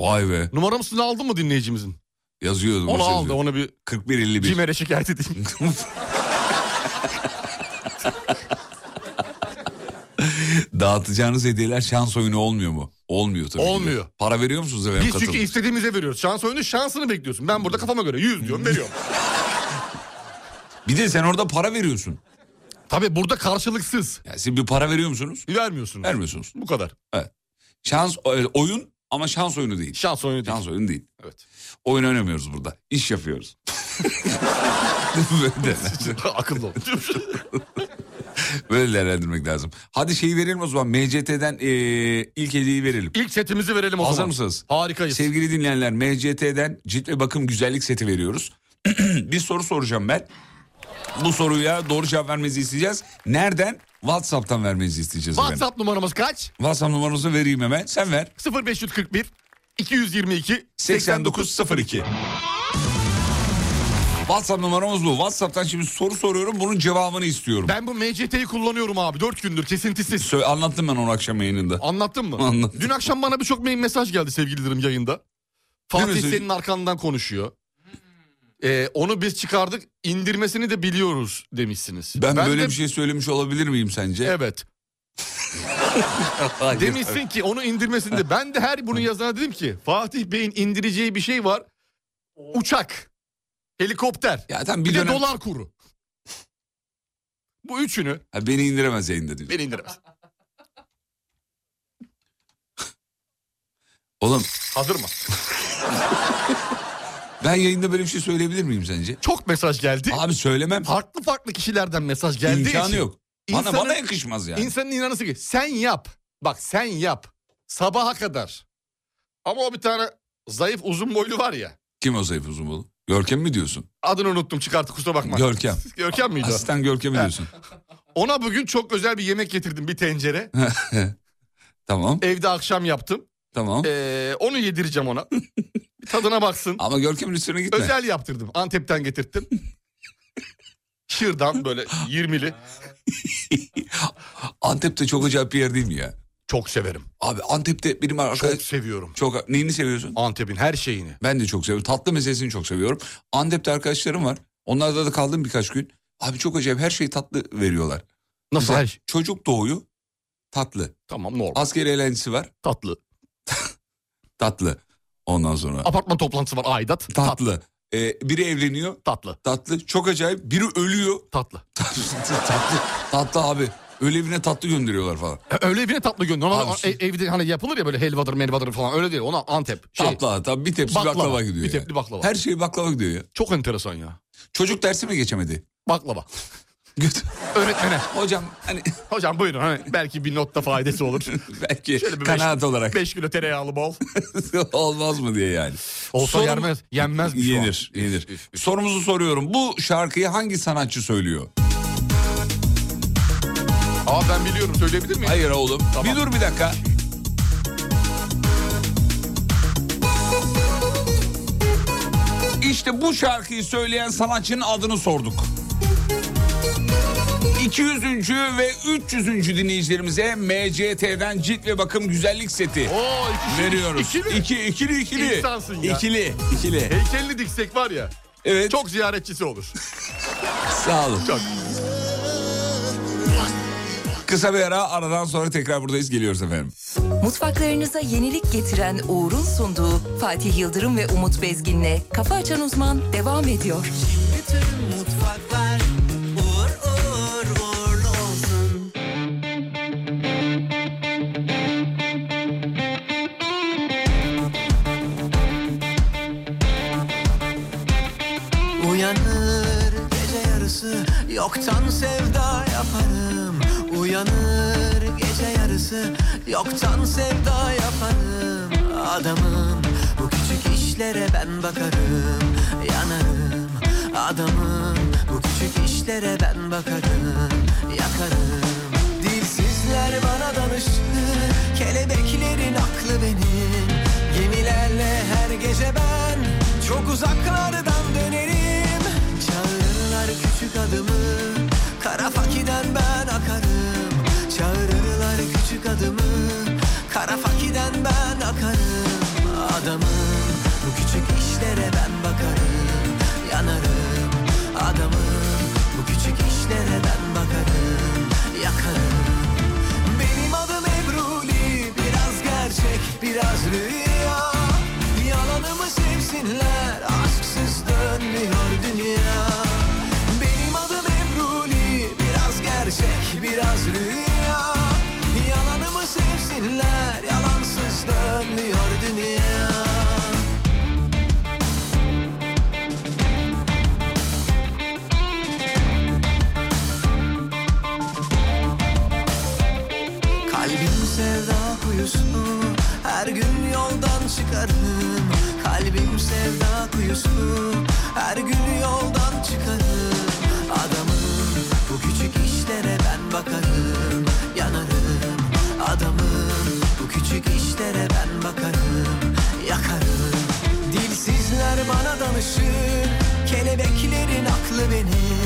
S5: Vay be
S7: Numaramızı aldın mı dinleyicimizin?
S5: yazıyordu.
S7: Onu
S5: mesajı.
S7: aldı onu bir
S5: 41 51.
S7: CİMER'e şikayet edeyim.
S5: Dağıtacağınız hediyeler şans oyunu olmuyor mu? Olmuyor tabii. ki de.
S7: Olmuyor.
S5: Para veriyor musunuz efendim
S7: Biz çünkü
S5: katılım?
S7: istediğimize veriyoruz. Şans oyunu şansını bekliyorsun. Ben burada kafama göre 100 diyorum veriyorum.
S5: Bir de sen orada para veriyorsun.
S7: Tabii burada karşılıksız.
S5: Yani siz bir para veriyor musunuz?
S7: Vermiyorsunuz.
S5: Vermiyorsunuz.
S7: Bu kadar.
S5: Şans e, oyun ama şans oyunu değil.
S7: Şans oyunu değil.
S5: Şans oyunu değil.
S7: Evet.
S5: Oyun oynamıyoruz burada. İş yapıyoruz. Böyle değerlendir-
S7: Akıllı ol.
S5: Böyle değerlendirmek lazım. Hadi şeyi verelim o zaman. MCT'den e, ilk hediyeyi verelim.
S7: İlk setimizi verelim o
S5: Hazır
S7: zaman.
S5: mısınız?
S7: Harikayız.
S5: Sevgili dinleyenler MCT'den cilt ve bakım güzellik seti veriyoruz. bir soru soracağım ben. Bu soruya doğru cevap vermenizi isteyeceğiz. Nereden? WhatsApp'tan vermenizi isteyeceğiz efendim.
S7: WhatsApp numaramız kaç?
S5: WhatsApp numaranızı vereyim hemen. Sen ver.
S7: 0541 222
S5: 8902. WhatsApp numaramız bu. WhatsApp'tan şimdi soru soruyorum. Bunun cevabını istiyorum.
S7: Ben bu MCT'yi kullanıyorum abi 4 gündür kesintisiz.
S5: Sö- anlattım ben onu akşam yayınında.
S7: Anlattın mı?
S5: Anlattım.
S7: Dün akşam bana birçok mail mesaj geldi sevgililerim yayında. Fatih
S5: mesajı?
S7: senin arkandan konuşuyor. Ee, onu biz çıkardık indirmesini de biliyoruz demişsiniz.
S5: Ben, böyle
S7: de-
S5: bir şey söylemiş olabilir miyim sence?
S7: Evet. Demişsin ki onu indirmesin de. Ben de her bunu yazana dedim ki Fatih Bey'in indireceği bir şey var. Uçak, helikopter,
S5: Ya tamam
S7: bir
S5: bir,
S7: de
S5: dönem
S7: dolar kuru. Bu üçünü
S5: Ha, beni indiremez yayında diyor.
S7: beni indiremez.
S5: Oğlum
S7: Hazır mı?
S5: ben yayında böyle bir şey söyleyebilir miyim sence?
S7: Çok mesaj geldi.
S5: Abi söylemem.
S7: Farklı farklı kişilerden mesaj geldiği
S5: İmkanı
S7: için
S5: yok. Bana,
S7: İnsanın-
S5: bana yakışmaz yani.
S7: insanın inanası ki sen yap. Bak sen yap. Sabaha kadar. Ama o bir tane zayıf uzun boylu var ya.
S5: Kim o Seyf Uzunbolu? Görkem mi diyorsun?
S7: Adını unuttum çıkarttı kusura bakma.
S5: Görkem.
S7: Görkem miydi o?
S5: Asistan Görkem mi diyorsun?
S7: Ona bugün çok özel bir yemek getirdim bir tencere.
S5: Tamam.
S7: Evde akşam yaptım.
S5: Tamam.
S7: Ee, onu yedireceğim ona. Bir Tadına baksın.
S5: Ama Görkem'in üstüne gitme.
S7: özel yaptırdım. Antep'ten getirttim. Şırdan böyle 20'li.
S5: Antep'te çok acayip bir yer değil mi ya?
S7: Çok severim.
S5: Abi Antep'te benim arkadaş...
S7: Çok
S5: Çok...
S7: seviyorum.
S5: Neyini seviyorsun?
S7: Antep'in her şeyini.
S5: Ben de çok seviyorum. Tatlı meselesini çok seviyorum. Antep'te arkadaşlarım var. Onlarda da kaldım birkaç gün. Abi çok acayip her şeyi tatlı veriyorlar.
S7: Nasıl
S5: Güzel.
S7: her şey?
S5: Çocuk doğuyu tatlı.
S7: Tamam normal.
S5: Askeri eğlencesi var
S7: Tatlı.
S5: tatlı. Ondan sonra
S7: Apartman toplantısı var aidat. Tatlı.
S5: tatlı. Ee, biri evleniyor
S7: Tatlı.
S5: tatlı. Çok acayip. Biri ölüyor
S7: Tatlı.
S5: tatlı. Tatlı abi. Öyle evine tatlı gönderiyorlar falan.
S7: Öyle evine tatlı gönder. Normalde
S5: Abi şey-
S7: ev- evde hani yapılır ya böyle helvadır melvadır falan öyle değil. Ona Antep. Şey,
S5: Tatlı tabii bir tepsi baklava,
S7: Baklava.
S5: gidiyor.
S7: Bir
S5: yani.
S7: tepli baklava.
S5: Her şey baklava gidiyor ya.
S7: Çok enteresan ya.
S5: Çocuk dersi mi geçemedi?
S7: Baklava.
S5: Göt-
S7: Öğretmene.
S5: Hocam hani
S7: Hocam buyurun hani belki bir notta faydası olur.
S5: belki
S7: Şöyle bir
S5: kanaat olarak
S7: 5 kilo tereyağlı bol.
S5: olmaz mı diye yani.
S7: Olsa
S5: Sorum-
S7: yenmez. Yenmez mi şu an?
S5: Yenir, yenir. Sorumuzu soruyorum. Bu şarkıyı hangi sanatçı söylüyor?
S7: Aa ben biliyorum söyleyebilir miyim?
S5: Hayır oğlum.
S7: Tamam.
S5: Bir dur bir dakika. İşte bu şarkıyı söyleyen sanatçının adını sorduk. 200. ve 300. dinleyicilerimize MCT'den cilt ve bakım güzellik seti
S7: Oo iki
S5: veriyoruz.
S7: İkili.
S5: İki, ikili, ikili.
S7: İnsansın ya.
S5: İkili, ikili.
S7: Heykelli diksek var ya.
S5: Evet.
S7: Çok ziyaretçisi olur.
S5: sağ olun.
S7: Çok.
S5: Kısa bir ara aradan sonra tekrar buradayız geliyoruz efendim.
S1: Mutfaklarınıza yenilik getiren Uğur'un sunduğu Fatih Yıldırım ve Umut Bezgin'le Kafa Açan Uzman devam ediyor.
S8: Bütün mutfaklar uğur uğur uğurlu olsun. Uyanır gece yarısı yoktan sevda yaparım. Uyanır gece yarısı yoktan sevda yaparım. Adamım bu küçük işlere ben bakarım yanarım. Adamım bu küçük işlere ben bakarım yakarım. Dilsizler bana danıştı kelebeklerin aklı benim. Gemilerle her gece ben çok uzaklardan dönerim. Çağırırlar küçük adımı Kara fakiden ben akarım Çağırırlar küçük adımı Kara fakiden ben akarım Adamım bu küçük işlere ben bakarım Yanarım adamım bu küçük işlere ben bakarım Yakarım benim adım biraz rüya Yalanımı sevsinler Aşksız dönmüyor dünya Benim adım Ebruli Biraz gerçek biraz rüya Yalanımı sevsinler Yalansız dönmüyor dünya Kalbim sevda kuyusu Her gün yoldan çıkarım Kalbim sevda kuyusu Her gün yoldan çıkarım Adamım bu küçük işlere ben bakarım Yanarım adamım bu küçük işlere ben bakarım Yakarım Dilsizler bana danışır Kelebeklerin aklı benim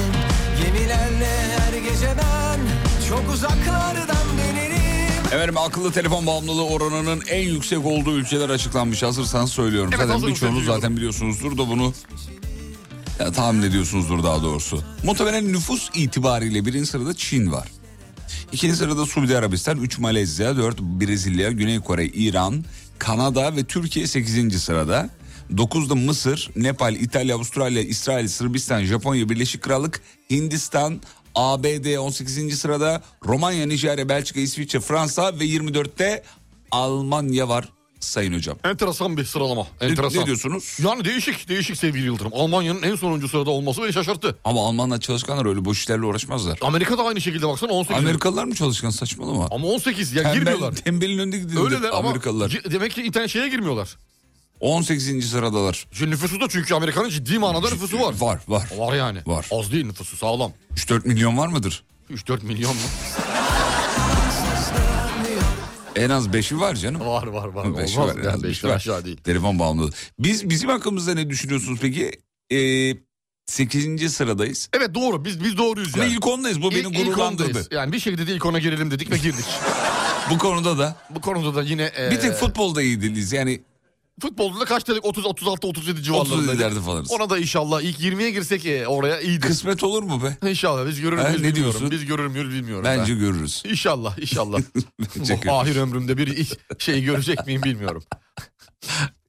S8: Gemilerle her gece ben Çok uzaklardan dönerim
S5: Efendim akıllı telefon bağımlılığı oranının en yüksek olduğu ülkeler açıklanmış. Hazırsanız söylüyorum.
S7: Evet,
S5: zaten
S7: hazırım,
S5: birçoğunuz
S7: söylüyorum.
S5: zaten biliyorsunuzdur da bunu ya, tahmin ediyorsunuzdur daha doğrusu. Muhtemelen nüfus itibariyle birinci sırada Çin var. İkinci sırada Suudi Arabistan, 3 Malezya, 4 Brezilya, Güney Kore, İran, Kanada ve Türkiye 8. sırada. 9'da Mısır, Nepal, İtalya, Avustralya, İsrail, Sırbistan, Japonya, Birleşik Krallık, Hindistan, ABD 18. sırada, Romanya, Nijerya, Belçika, İsviçre, Fransa ve 24'te Almanya var sayın hocam.
S7: Enteresan bir sıralama.
S5: Ne,
S7: Enteresan.
S5: ne diyorsunuz?
S7: Yani değişik, değişik sevgili Yıldırım. Almanya'nın en sonuncu sırada olması beni şaşırttı.
S5: Ama Almanlar çalışkanlar öyle boş işlerle uğraşmazlar.
S7: Amerika da aynı şekilde baksana 18.
S5: Amerikalılar mı çalışkan saçmalama?
S7: Ama 18 ya
S5: Tembel,
S7: girmiyorlar.
S5: tembelin önünde
S7: Öyleler
S5: gidiyorlar
S7: ama
S5: Amerikalılar.
S7: ci- demek ki internet şeye girmiyorlar.
S5: 18. sıradalar.
S7: Şimdi nüfusu da çünkü Amerika'nın ciddi manada nüfusu var.
S5: Var var.
S7: Var yani.
S5: Var.
S7: Az değil nüfusu sağlam.
S5: 3-4 milyon var mıdır?
S7: 3-4 milyon mu?
S5: En az 5'i var canım.
S7: Var var var.
S5: Beşi
S7: Olmaz.
S5: var, en
S7: yani
S5: az beşi
S7: beşten
S5: var.
S7: aşağı değil.
S5: Telefon bağımlılığı. Biz bizim hakkımızda ne düşünüyorsunuz peki? 8. sıradayız.
S7: Evet doğru biz biz doğruyuz
S5: Ama
S7: yani.
S5: ilk ondayız. Bu beni
S7: İlk- ilk ondayız.
S5: gururlandırdı.
S7: Yani bir şekilde de ilk ona girelim dedik ve girdik.
S5: Bu konuda da
S7: Bu konuda da yine... e,
S5: bir tek futbolda iyi değiliz. Yani
S7: Futbolda da kaç dedik? 30, 36, 37 civarlarında.
S5: 37'lerde falanız.
S7: Ona da inşallah ilk 20'ye girsek e, oraya iyidir.
S5: kısmet olur mu be?
S7: İnşallah biz görür
S5: Ha,
S7: müyüz
S5: ne
S7: bilmiyorum.
S5: diyorsun?
S7: Biz görür müyüz bilmiyorum.
S5: Bence
S7: ben.
S5: görürüz.
S7: İnşallah inşallah.
S5: Bence
S7: Bu ahir ömrümde bir iş- şey görecek miyim bilmiyorum.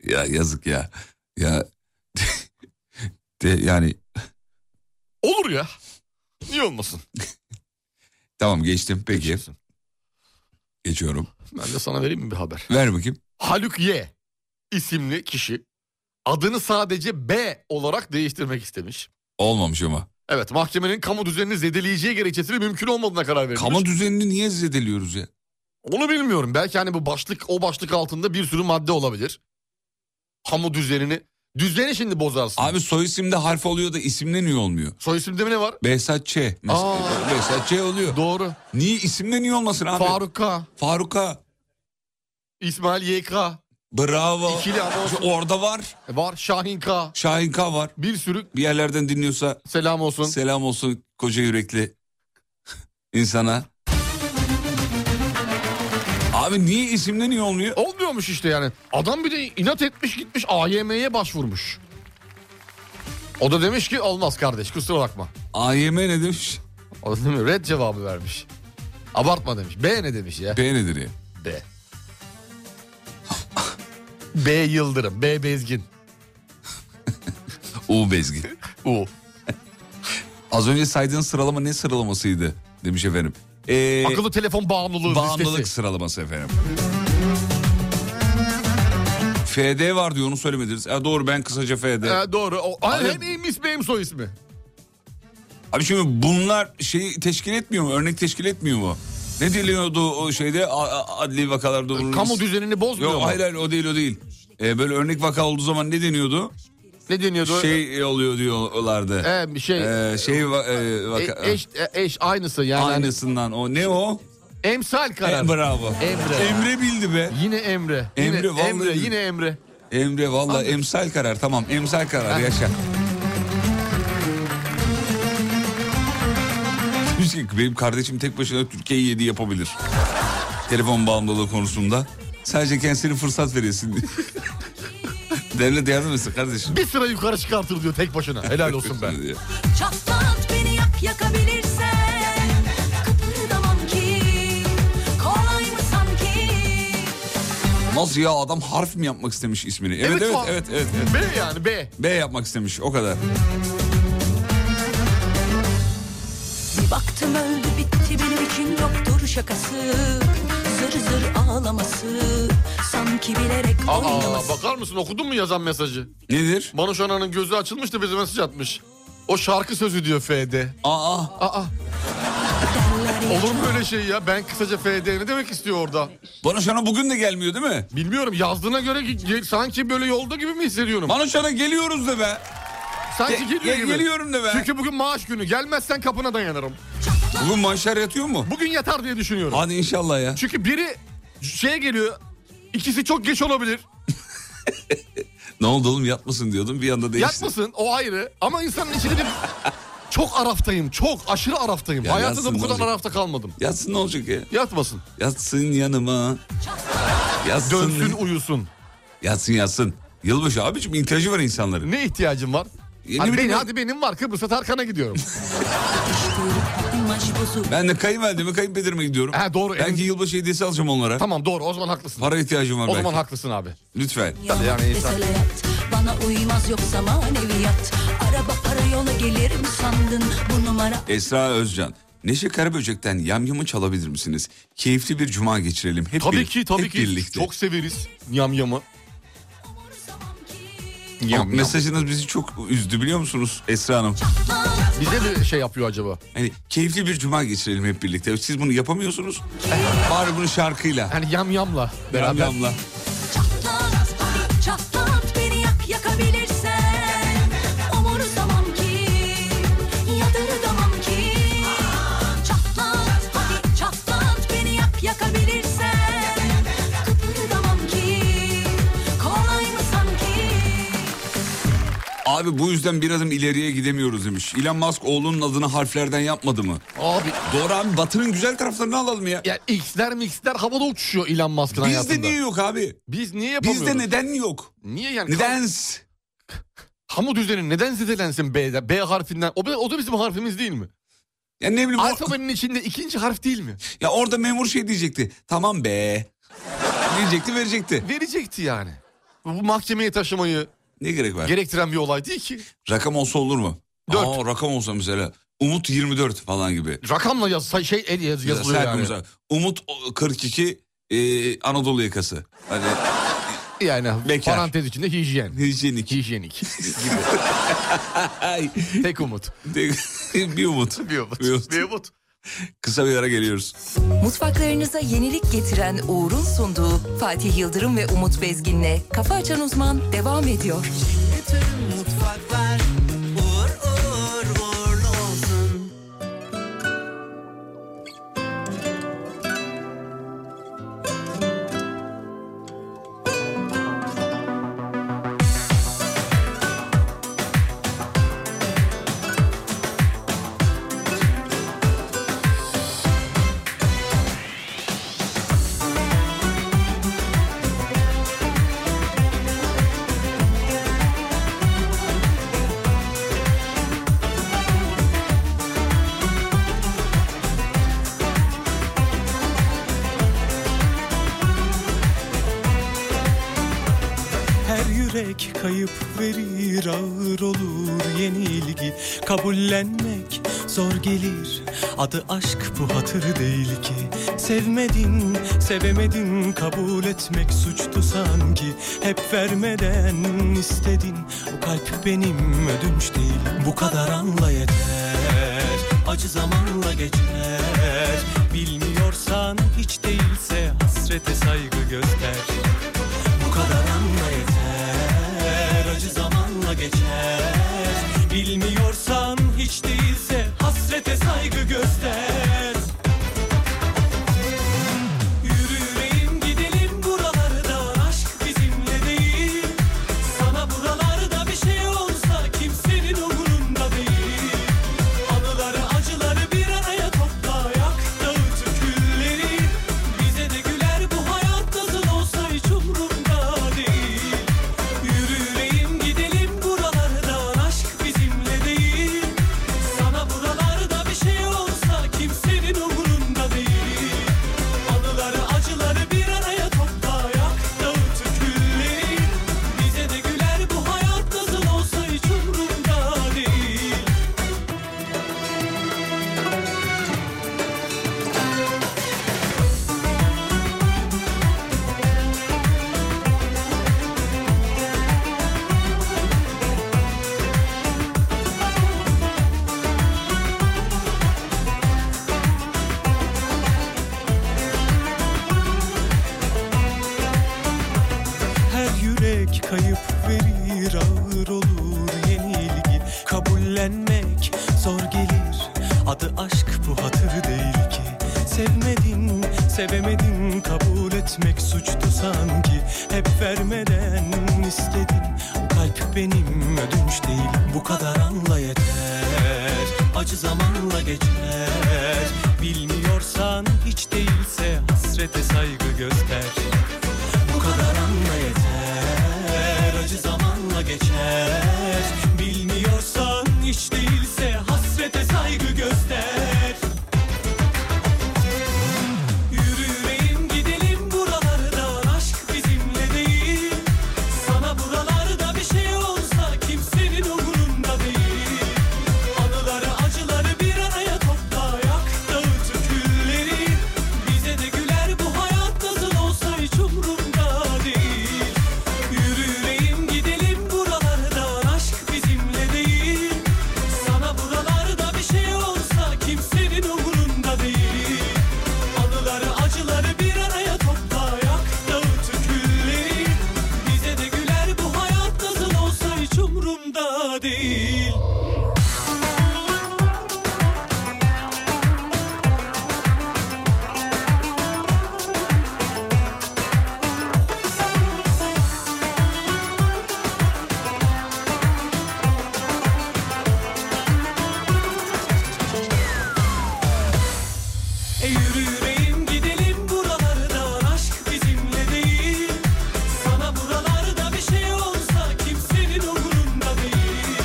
S5: Ya yazık ya. Ya de, yani
S7: Olur ya. Niye olmasın?
S5: tamam geçtim peki. Geçiyorum.
S7: Ben de sana vereyim mi bir haber?
S5: Ver bakayım.
S7: Haluk Y isimli kişi adını sadece B olarak değiştirmek istemiş.
S5: Olmamış ama.
S7: Evet mahkemenin kamu düzenini zedeleyeceği gerekçesiyle mümkün olmadığına karar verilmiş.
S5: Kamu düzenini niye zedeliyoruz ya?
S7: Onu bilmiyorum. Belki hani bu başlık o başlık altında bir sürü madde olabilir. Kamu düzenini. Düzeni şimdi bozarsın.
S5: Abi soy isimde harf oluyor da isimde niye olmuyor?
S7: Soy isimde mi ne var?
S5: Behzat Ç. Mesela.
S7: Aa.
S5: Behzat Ç oluyor.
S7: Doğru.
S5: Niye isimde niye olmasın abi?
S7: Faruk K.
S5: Faruk'a.
S7: İsmail YK.
S5: Bravo.
S7: İkili ama olsun.
S5: Orada var.
S7: Var. Şahin K.
S5: Şahin K var.
S7: Bir sürü
S5: Bir yerlerden dinliyorsa
S7: selam olsun.
S5: selam olsun koca yürekli insana. Abi niye isimde niye olmuyor?
S7: Olmuyormuş işte yani. Adam bir de inat etmiş gitmiş AYM'ye başvurmuş. O da demiş ki olmaz kardeş kusura bakma.
S5: AYM ne demiş?
S7: O da demiş, red cevabı vermiş. Abartma demiş. B ne demiş ya?
S5: B nedir ya?
S7: B. B Yıldırım. B Bezgin.
S5: U Bezgin.
S7: U.
S5: Az önce saydığın sıralama ne sıralamasıydı demiş efendim. Ee,
S7: Akıllı telefon bağımlılığı
S5: bağımlılık
S7: listesi.
S5: sıralaması efendim. FD var diyor onu söylemediniz. Ha, doğru ben kısaca FD.
S7: Ee, doğru. O, Ay,
S5: Abi-
S7: hem iyi ismi hem soy ismi.
S5: Abi şimdi bunlar şeyi teşkil etmiyor mu? Örnek teşkil etmiyor mu? Ne deniyordu o şeyde A- a- adli vakalarda? olur.
S7: Kamu düzenini bozmuyor
S5: Yok
S7: mu?
S5: hayır hayır o değil o değil. Ee, böyle örnek vaka olduğu zaman ne deniyordu?
S7: Ne deniyordu?
S5: Şey oluyor diyorlardı.
S7: Ee, şey,
S5: Ee, şey va- e, vaka-
S7: e- eş, e- eş aynısı yani.
S5: aynısından o ne o?
S7: Emsal karar.
S5: E, bravo.
S7: Emre.
S5: Emre bildi be.
S7: Yine Emre.
S5: Emre,
S7: yine,
S5: vallahi
S7: Emre,
S5: bildim.
S7: yine Emre.
S5: Emre valla emsal karar tamam emsal karar yaşa. Demiş ki, benim kardeşim tek başına Türkiye'yi yedi yapabilir. Telefon bağımlılığı konusunda. Sadece kendisine fırsat verilsin diye. Devlet yardım etsin kardeşim.
S7: Bir sıra yukarı çıkartır diyor tek başına. Helal olsun be.
S5: Diye.
S4: Çatlat beni yak yakabilirsen Kıpırdamam ki Kolay mı sanki
S5: Nasıl ya adam harf mi yapmak istemiş ismini? Evet
S7: Evet,
S5: evet
S7: o-
S5: evet evet. evet.
S7: B yani B.
S5: B yapmak istemiş o kadar.
S1: Bir baktım öldü bitti benim için yoktur şakası. Zır zır ağlaması sanki bilerek
S7: Aa
S1: oynaması.
S7: bakar mısın okudun mu yazan mesajı?
S5: Nedir?
S7: Banu Şanan'ın gözü açılmış da bize mesaj atmış. O şarkı sözü diyor F'de.
S5: Aa
S7: Aa. Olur mu öyle şey ya? Ben kısaca FD ne demek istiyor orada?
S5: bana şana bugün de gelmiyor değil mi?
S7: Bilmiyorum yazdığına göre ge- ge- sanki böyle yolda gibi mi hissediyorum?
S5: Bana şana geliyoruz de be.
S7: sanki
S5: ge-
S7: geliyor
S5: ge-
S7: gibi.
S5: geliyorum de be.
S7: Çünkü bugün maaş günü. Gelmezsen kapına dayanırım.
S5: Bugün manşer yatıyor mu?
S7: Bugün yatar diye düşünüyorum.
S5: Hadi inşallah ya.
S7: Çünkü biri şeye geliyor. İkisi çok geç olabilir.
S5: Ne oldu oğlum yatmasın diyordum bir anda değişti.
S7: Yatmasın o ayrı. Ama insanın içinde bir... Çok araftayım. Çok aşırı araftayım.
S5: Ya
S7: Hayatta da
S5: yatsın
S7: bu
S5: ne
S7: kadar
S5: olacak?
S7: arafta kalmadım.
S5: Yatsın ne olacak ya?
S7: Yatmasın.
S5: Yatsın yanıma. Yatsın.
S7: Dönsün uyusun.
S5: Yatsın yatsın. Yılbaşı abicim ihtiyacı var insanların.
S7: Ne ihtiyacım var?
S5: Yeni
S7: Hadi,
S5: bir
S7: benim,
S5: dünya-
S7: hadi benim var Kıbrıs'a Tarkan'a gidiyorum.
S1: İmaj bozuk.
S5: Ben de kayınvalideme kayınpederime gidiyorum.
S7: Ha, doğru.
S5: Belki yılbaşı hediyesi alacağım onlara.
S7: tamam doğru o zaman haklısın.
S5: Para ihtiyacım var
S7: o
S5: belki.
S7: zaman haklısın abi.
S5: Lütfen.
S7: Tabii yani insan-
S1: Meseleyat, Bana uymaz yoksa maneviyat. Araba para yola gelir mi sandın? Bu numara
S5: Esra Özcan. Neşe Karaböcek'ten yamyamı çalabilir misiniz? Keyifli bir cuma geçirelim. Hep
S7: Tabii
S5: bir-
S7: ki tabii
S5: hep
S7: ki.
S5: birlikte.
S7: Çok severiz yamyamı.
S5: Ama
S7: Yam, yam.
S5: mesajınız bizi çok üzdü biliyor musunuz Esra Hanım?
S7: Bize bir şey yapıyor acaba?
S5: Hani keyifli bir cuma geçirelim hep birlikte. Siz bunu yapamıyorsunuz. Bari bunu şarkıyla.
S7: Yani yamyamla beraber.
S5: Yamyamla.
S9: Çatlat hadi çatlat beni yak yakabilirsen Umursamam ki yadırgamam ki Çatlat hadi çatlat beni yak yakabilirsen Kıpırdamam ki kolay mı sanki
S5: Abi bu yüzden bir adım ileriye gidemiyoruz demiş. Elon Musk oğlunun adını harflerden yapmadı mı?
S7: Abi
S5: Doğru abi batının güzel taraflarını alalım ya.
S7: ya X'ler mixler havada uçuşuyor Elon Musk'ın hayatında.
S5: Bizde niye yok abi?
S7: Biz niye yapamıyoruz?
S5: Bizde neden yok?
S7: Niye yani?
S5: Nedens?
S7: Kamu düzeni neden zedelensin B'de? B harfinden. O, be- o da bizim harfimiz değil mi?
S5: Ya ne bileyim o-
S7: Alfabenin içinde ikinci harf değil mi?
S5: ya orada memur şey diyecekti. Tamam be. diyecekti verecekti.
S7: Verecekti yani. Bu mahkemeye taşımayı
S5: Ne gerek var?
S7: gerektiren bir olay değil ki.
S5: rakam olsa olur mu?
S7: Dört.
S5: Aa, rakam olsa mesela. Umut 24 falan gibi.
S7: Rakamla yaz, şey el yaz, yazılıyor
S5: Mesela
S7: yani.
S5: mesela Umut o- 42 e, Anadolu yakası. Hani
S7: Yani
S5: Bekar.
S7: parantez içinde hijyen.
S5: hijyenik.
S7: Hijyenik.
S5: Ay,
S7: Tek umut.
S5: bir umut.
S7: Bir umut.
S5: Bir umut.
S7: Bir umut.
S5: Kısa bir ara geliyoruz.
S1: Mutfaklarınıza yenilik getiren Uğur'un sunduğu Fatih Yıldırım ve Umut Bezgin'le Kafa Açan Uzman devam ediyor.
S8: Bütün mutfaklar uğur uğur uğurlu olsun.
S2: Her yürek kayıp verir ağır olur yenilgi Kabullenmek zor gelir adı aşk bu hatır değil ki Sevmedin sevemedin kabul etmek suçtu sanki Hep vermeden istedin o kalp benim ödünç değil Bu kadar anla yeter acı zamanla geçer Bilmiyorsan hiç değilse hasrete saygı göster bu kadar anla yeter Acı zamanla geçer Bilmiyorsan hiç değilse Hasrete saygı göster Yürü yüreğim gidelim buralarda Aşk bizimle değil Sana buralarda bir şey olsa Kimsenin umurunda değil Anıları acıları bir araya topla Yak dağıt külleri Bize de güler bu hayat nasıl olsa hiç umurumda değil şey Sevmek kayıp verir ağır olur yenilgi Kabullenmek zor gelir adı aşk bu hatır değil ki Sevmedin sevemedin kabul etmek suçtu sanki Hep vermeden istedin o kalp benim ödünç değil Bu kadar anla yeter acı zamanla geçer Bilmiyorsan hiç değilse hasrete saygı göster bu kadar anla yeter Acı zamanla geçer Bilmiyorsan hiç değilse Hasrete saygı göster Yürü yüreğim gidelim buralardan Aşk bizimle değil Sana buralarda bir şey olsa Kimsenin umurunda değil Anıları acıları bir araya topla Yak dağıt külleri Bize de güler bu hayat nasıl olsa hiç umurumda değil Yürü yüreğim gidelim buralardan Aşk bizimle değil Sana buralarda bir şey olsa Kimsenin umurunda değil Anıları acıları bir araya topla Yak dağıt külleri Bize de güler bu hayat nasıl olsa hiç umurumda değil E yürü yüreğim gidelim buralardan Aşk bizimle değil Sana buralarda bir şey olsa Kimsenin umurunda değil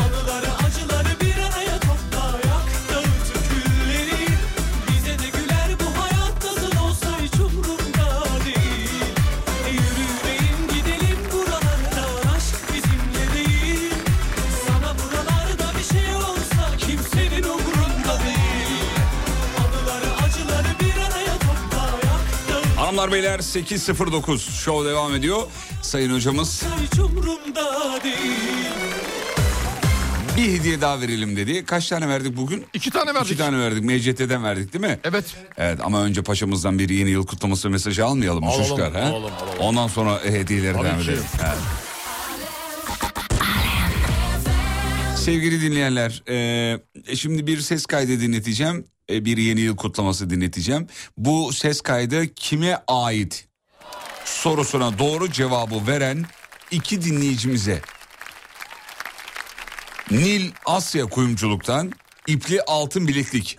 S2: Anıları acıları bir araya topla Yak dağıt külleri Bize de güler bu hayat nasıl olsa Hiç umurumda değil E yürü yüreğim gidelim buralardan Aşk bizimle değil Sana buralarda bir şey olsa Kimsenin umurunda değil Anıları acıları bir araya topla Yakta
S5: Hanımlar beyler 8.09 şov devam ediyor. Sayın hocamız
S2: hiç umrumda değil
S5: bir hediye daha verelim dedi. Kaç tane verdik bugün?
S7: İki tane verdik.
S5: İki tane verdik. MCT'den verdik değil mi?
S7: Evet.
S5: Evet ama önce paşamızdan bir yeni yıl kutlaması mesajı almayalım mı
S7: Alalım,
S5: çocuklar? ha?
S7: alalım, alalım.
S5: Ondan sonra e, hediyeleri
S7: Tabii
S5: devam
S7: ki.
S5: edelim. Evet. Sevgili dinleyenler, e, şimdi bir ses kaydı dinleteceğim. E, bir yeni yıl kutlaması dinleteceğim. Bu ses kaydı kime ait sorusuna doğru cevabı veren iki dinleyicimize Nil Asya Kuyumculuk'tan ipli altın bileklik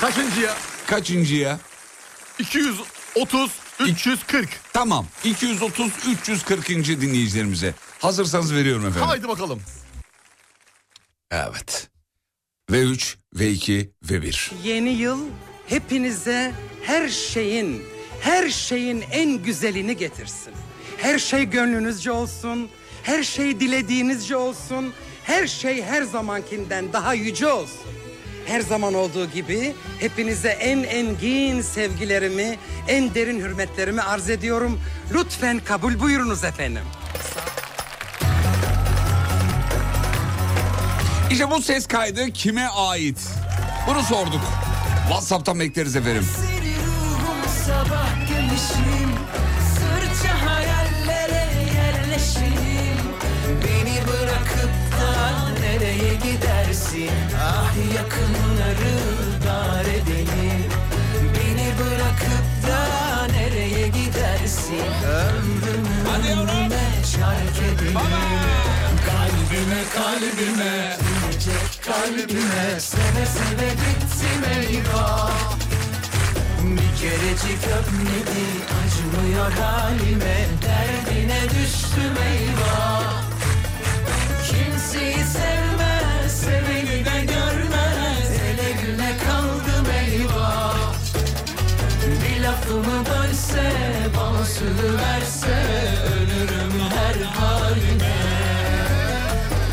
S7: Kaçıncı ya?
S5: kaçıncıya?
S7: 230, 340.
S5: Tamam. 230 340. dinleyicilerimize. Hazırsanız veriyorum efendim.
S7: Haydi bakalım.
S5: Evet. Ve 3 ve 2 ve 1.
S10: Yeni yıl hepinize her şeyin, her şeyin en güzelini getirsin. Her şey gönlünüzce olsun, her şey dilediğinizce olsun, her şey her zamankinden daha yüce olsun. Her zaman olduğu gibi hepinize en engin sevgilerimi, en derin hürmetlerimi arz ediyorum. Lütfen kabul buyurunuz efendim.
S5: İşte bu ses kaydı kime ait? Bunu sorduk. WhatsApp'tan bekleriz efendim.
S6: Seni ruhum sabah güneşim Sırça hayallere yerleşim Beni bırakıp da nereye gidersin Ah yakınları dar edelim Beni bırakıp da nereye gidersin Ömrümü ömrüme çark edelim Kalbime kalbime Dinecek kalbime Seve seve bitsin eyvah bir kerecik öpmedi acımıyor halime Derdine düştüm eyvah Kimseyi sevmez, seveni de görmez Ele güne kaldım eyvah Bir lafımı bölse, bana sürüverse Ölürüm her haline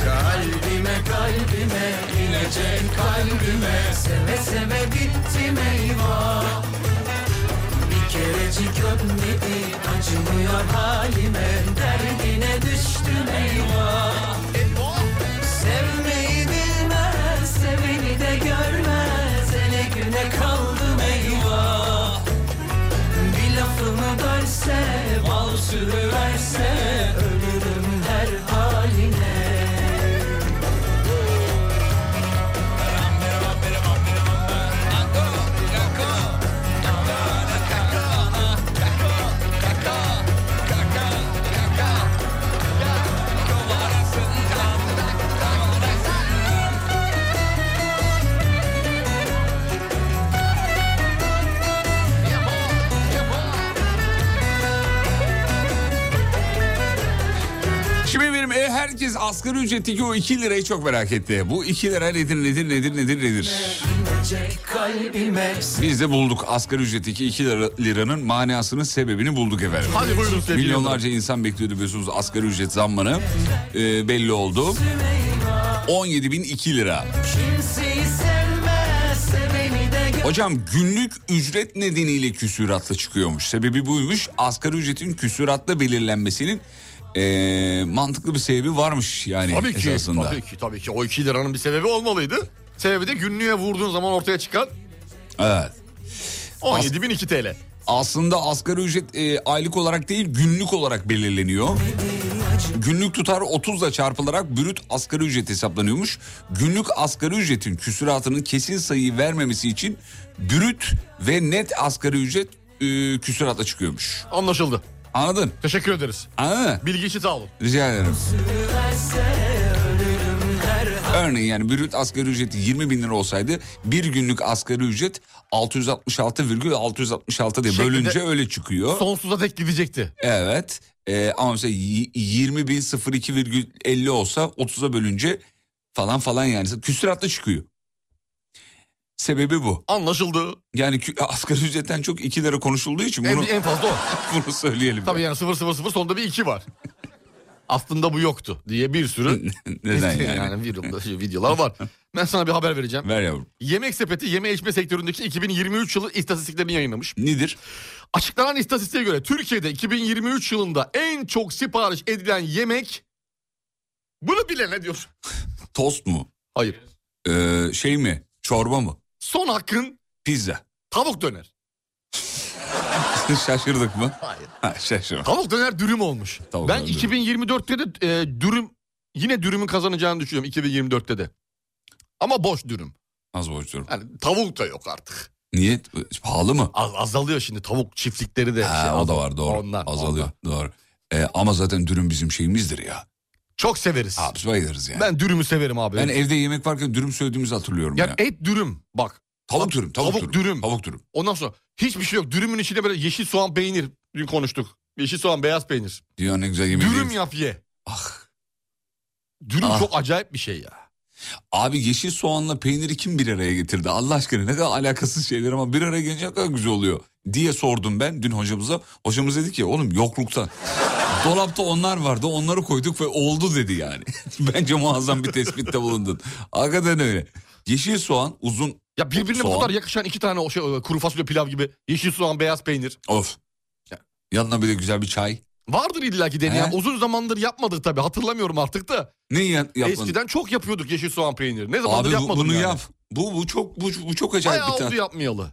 S6: Kalbime kalbime, inecek kalbime Seve seve bittim eyvah bir kerecik öpmedi acımıyor halime Derdine düştüm eyvah Sevmeyi bilmez, seveni de görmez Ele güne kaldım eyvah Bir lafımı bölse, bal sürüverse
S5: benim e, herkes asgari ücretteki o 2 lirayı çok merak etti. Bu 2 lira nedir nedir nedir nedir nedir?
S6: kalbime
S5: Biz de bulduk asgari ücretteki 2 lira, liranın manasının sebebini bulduk efendim.
S7: Hadi buyurun sevgili
S5: Milyonlarca insan bekliyordu biliyorsunuz asgari ücret zammını e, belli oldu. 17.002 lira.
S6: kimseyi sevmezse beni de
S5: Hocam günlük ücret nedeniyle küsüratla çıkıyormuş. Sebebi buymuş. Asgari ücretin küsüratla belirlenmesinin eee, mantıklı bir sebebi varmış yani
S7: Tabii ki.
S5: esasında.
S7: Tabii ki tabii ki. O 2 liranın bir sebebi olmalıydı. Sebebi de günlüğe vurduğun zaman ortaya çıkan
S5: Evet.
S7: 17.002 TL.
S5: Aslında asgari ücret eee, aylık olarak değil günlük olarak belirleniyor. Günlük tutar 30 ile çarpılarak brüt asgari ücret hesaplanıyormuş. Günlük asgari ücretin küsüratının kesin sayıyı vermemesi için brüt ve net asgari ücret eee küsürata çıkıyormuş.
S7: Anlaşıldı.
S5: Anladın?
S7: Teşekkür ederiz.
S5: Anladın mı?
S7: Bilgi için sağ olun.
S5: Rica ederim. Örneğin yani brüt asgari ücreti 20 bin lira olsaydı bir günlük asgari ücret 666,666 diye
S7: Şeklinde-
S5: bölünce öyle çıkıyor.
S7: Sonsuza dek gidecekti.
S5: Evet Ee, ama mesela 20 bin 02,50 olsa 30'a bölünce falan falan yani küsüratla çıkıyor. Sebebi bu.
S7: Anlaşıldı.
S5: Yani kü- asgari ücretten çok 2 lira konuşulduğu için bunu,
S7: En, en fazla o.
S5: bunu söyleyelim.
S7: Tabii yani 0 0 0 sonunda bir 2 var. Aslında bu yoktu diye bir sürü
S5: Neden yani?
S7: video- videolar var. Ben sana bir haber vereceğim.
S5: Ver yavrum.
S7: Yemek Sepeti yeme içme sektöründeki 2023 yılı istatistiklerini yayınlamış.
S5: Nedir?
S7: Açıklanan istatistiğe göre Türkiye'de 2023 yılında en çok sipariş edilen yemek bunu bilene diyor.
S5: Tost mu?
S7: Hayır.
S5: Ee, şey mi? Çorba mı?
S7: Son hakkın
S5: Pizza.
S7: tavuk döner.
S5: Şaşırdık mı?
S7: Hayır.
S5: Ha, şaşırdım.
S7: Tavuk döner dürüm olmuş.
S5: Tavuk
S7: ben
S5: döner dürüm.
S7: 2024'te de e, dürüm yine dürümün kazanacağını düşünüyorum 2024'te de. Ama boş dürüm.
S5: Az borçluyorum.
S7: Yani tavuk da yok artık.
S5: Niye? Pahalı mı?
S7: Az, azalıyor şimdi tavuk çiftlikleri de.
S5: Ha,
S7: şey,
S5: o da
S7: azal-
S5: var doğru.
S7: Ondan,
S5: Azalıyor
S7: ondan.
S5: doğru. Ee, ama zaten dürüm bizim şeyimizdir ya.
S7: Çok severiz.
S5: Abi bayılırız yani. Ben,
S7: ben dürümü severim abi.
S5: evde yemek varken dürüm söylediğimizi hatırlıyorum ya.
S7: yani et dürüm bak.
S5: Tavuk dürüm, tavuk,
S7: tavuk
S5: dürüm.
S7: dürüm.
S5: Tavuk dürüm.
S7: Ondan sonra hiçbir şey yok. Dürümün içinde böyle yeşil soğan peynir. Dün konuştuk. Yeşil soğan beyaz peynir.
S5: Dünyanın en güzel yemeği.
S7: Dürüm
S5: değil.
S7: yap ye.
S5: Ah.
S7: Dürüm
S5: Ah.
S7: çok acayip bir şey ya.
S5: Abi yeşil soğanla peyniri kim bir araya getirdi? Allah aşkına ne kadar alakasız şeyler ama bir araya gelince ne kadar güzel oluyor diye sordum ben dün hocamıza. Hocamız dedi ki oğlum yokluktan. Dolapta onlar vardı onları koyduk ve oldu dedi yani. Bence muazzam bir tespitte bulundun. Hakikaten öyle. Yeşil soğan uzun
S7: Ya birbirine bu
S5: Soğan.
S7: kadar yakışan iki tane o şey e, kuru fasulye pilav gibi yeşil soğan beyaz peynir.
S5: of. Yanına bir de güzel bir çay.
S7: Vardır illaki deneyen.
S5: He.
S7: Uzun zamandır yapmadık tabii. Hatırlamıyorum artık da.
S5: Ne ya- yapmadın?
S7: Eskiden çok yapıyorduk yeşil soğan peyniri. Ne zamandır
S5: Abi bu-
S7: yapmadım
S5: bunu
S7: yani.
S5: yap. Bu, bu çok bu, bu çok acayip
S7: Bayağı
S5: bir tane.
S7: oldu yapmayalı.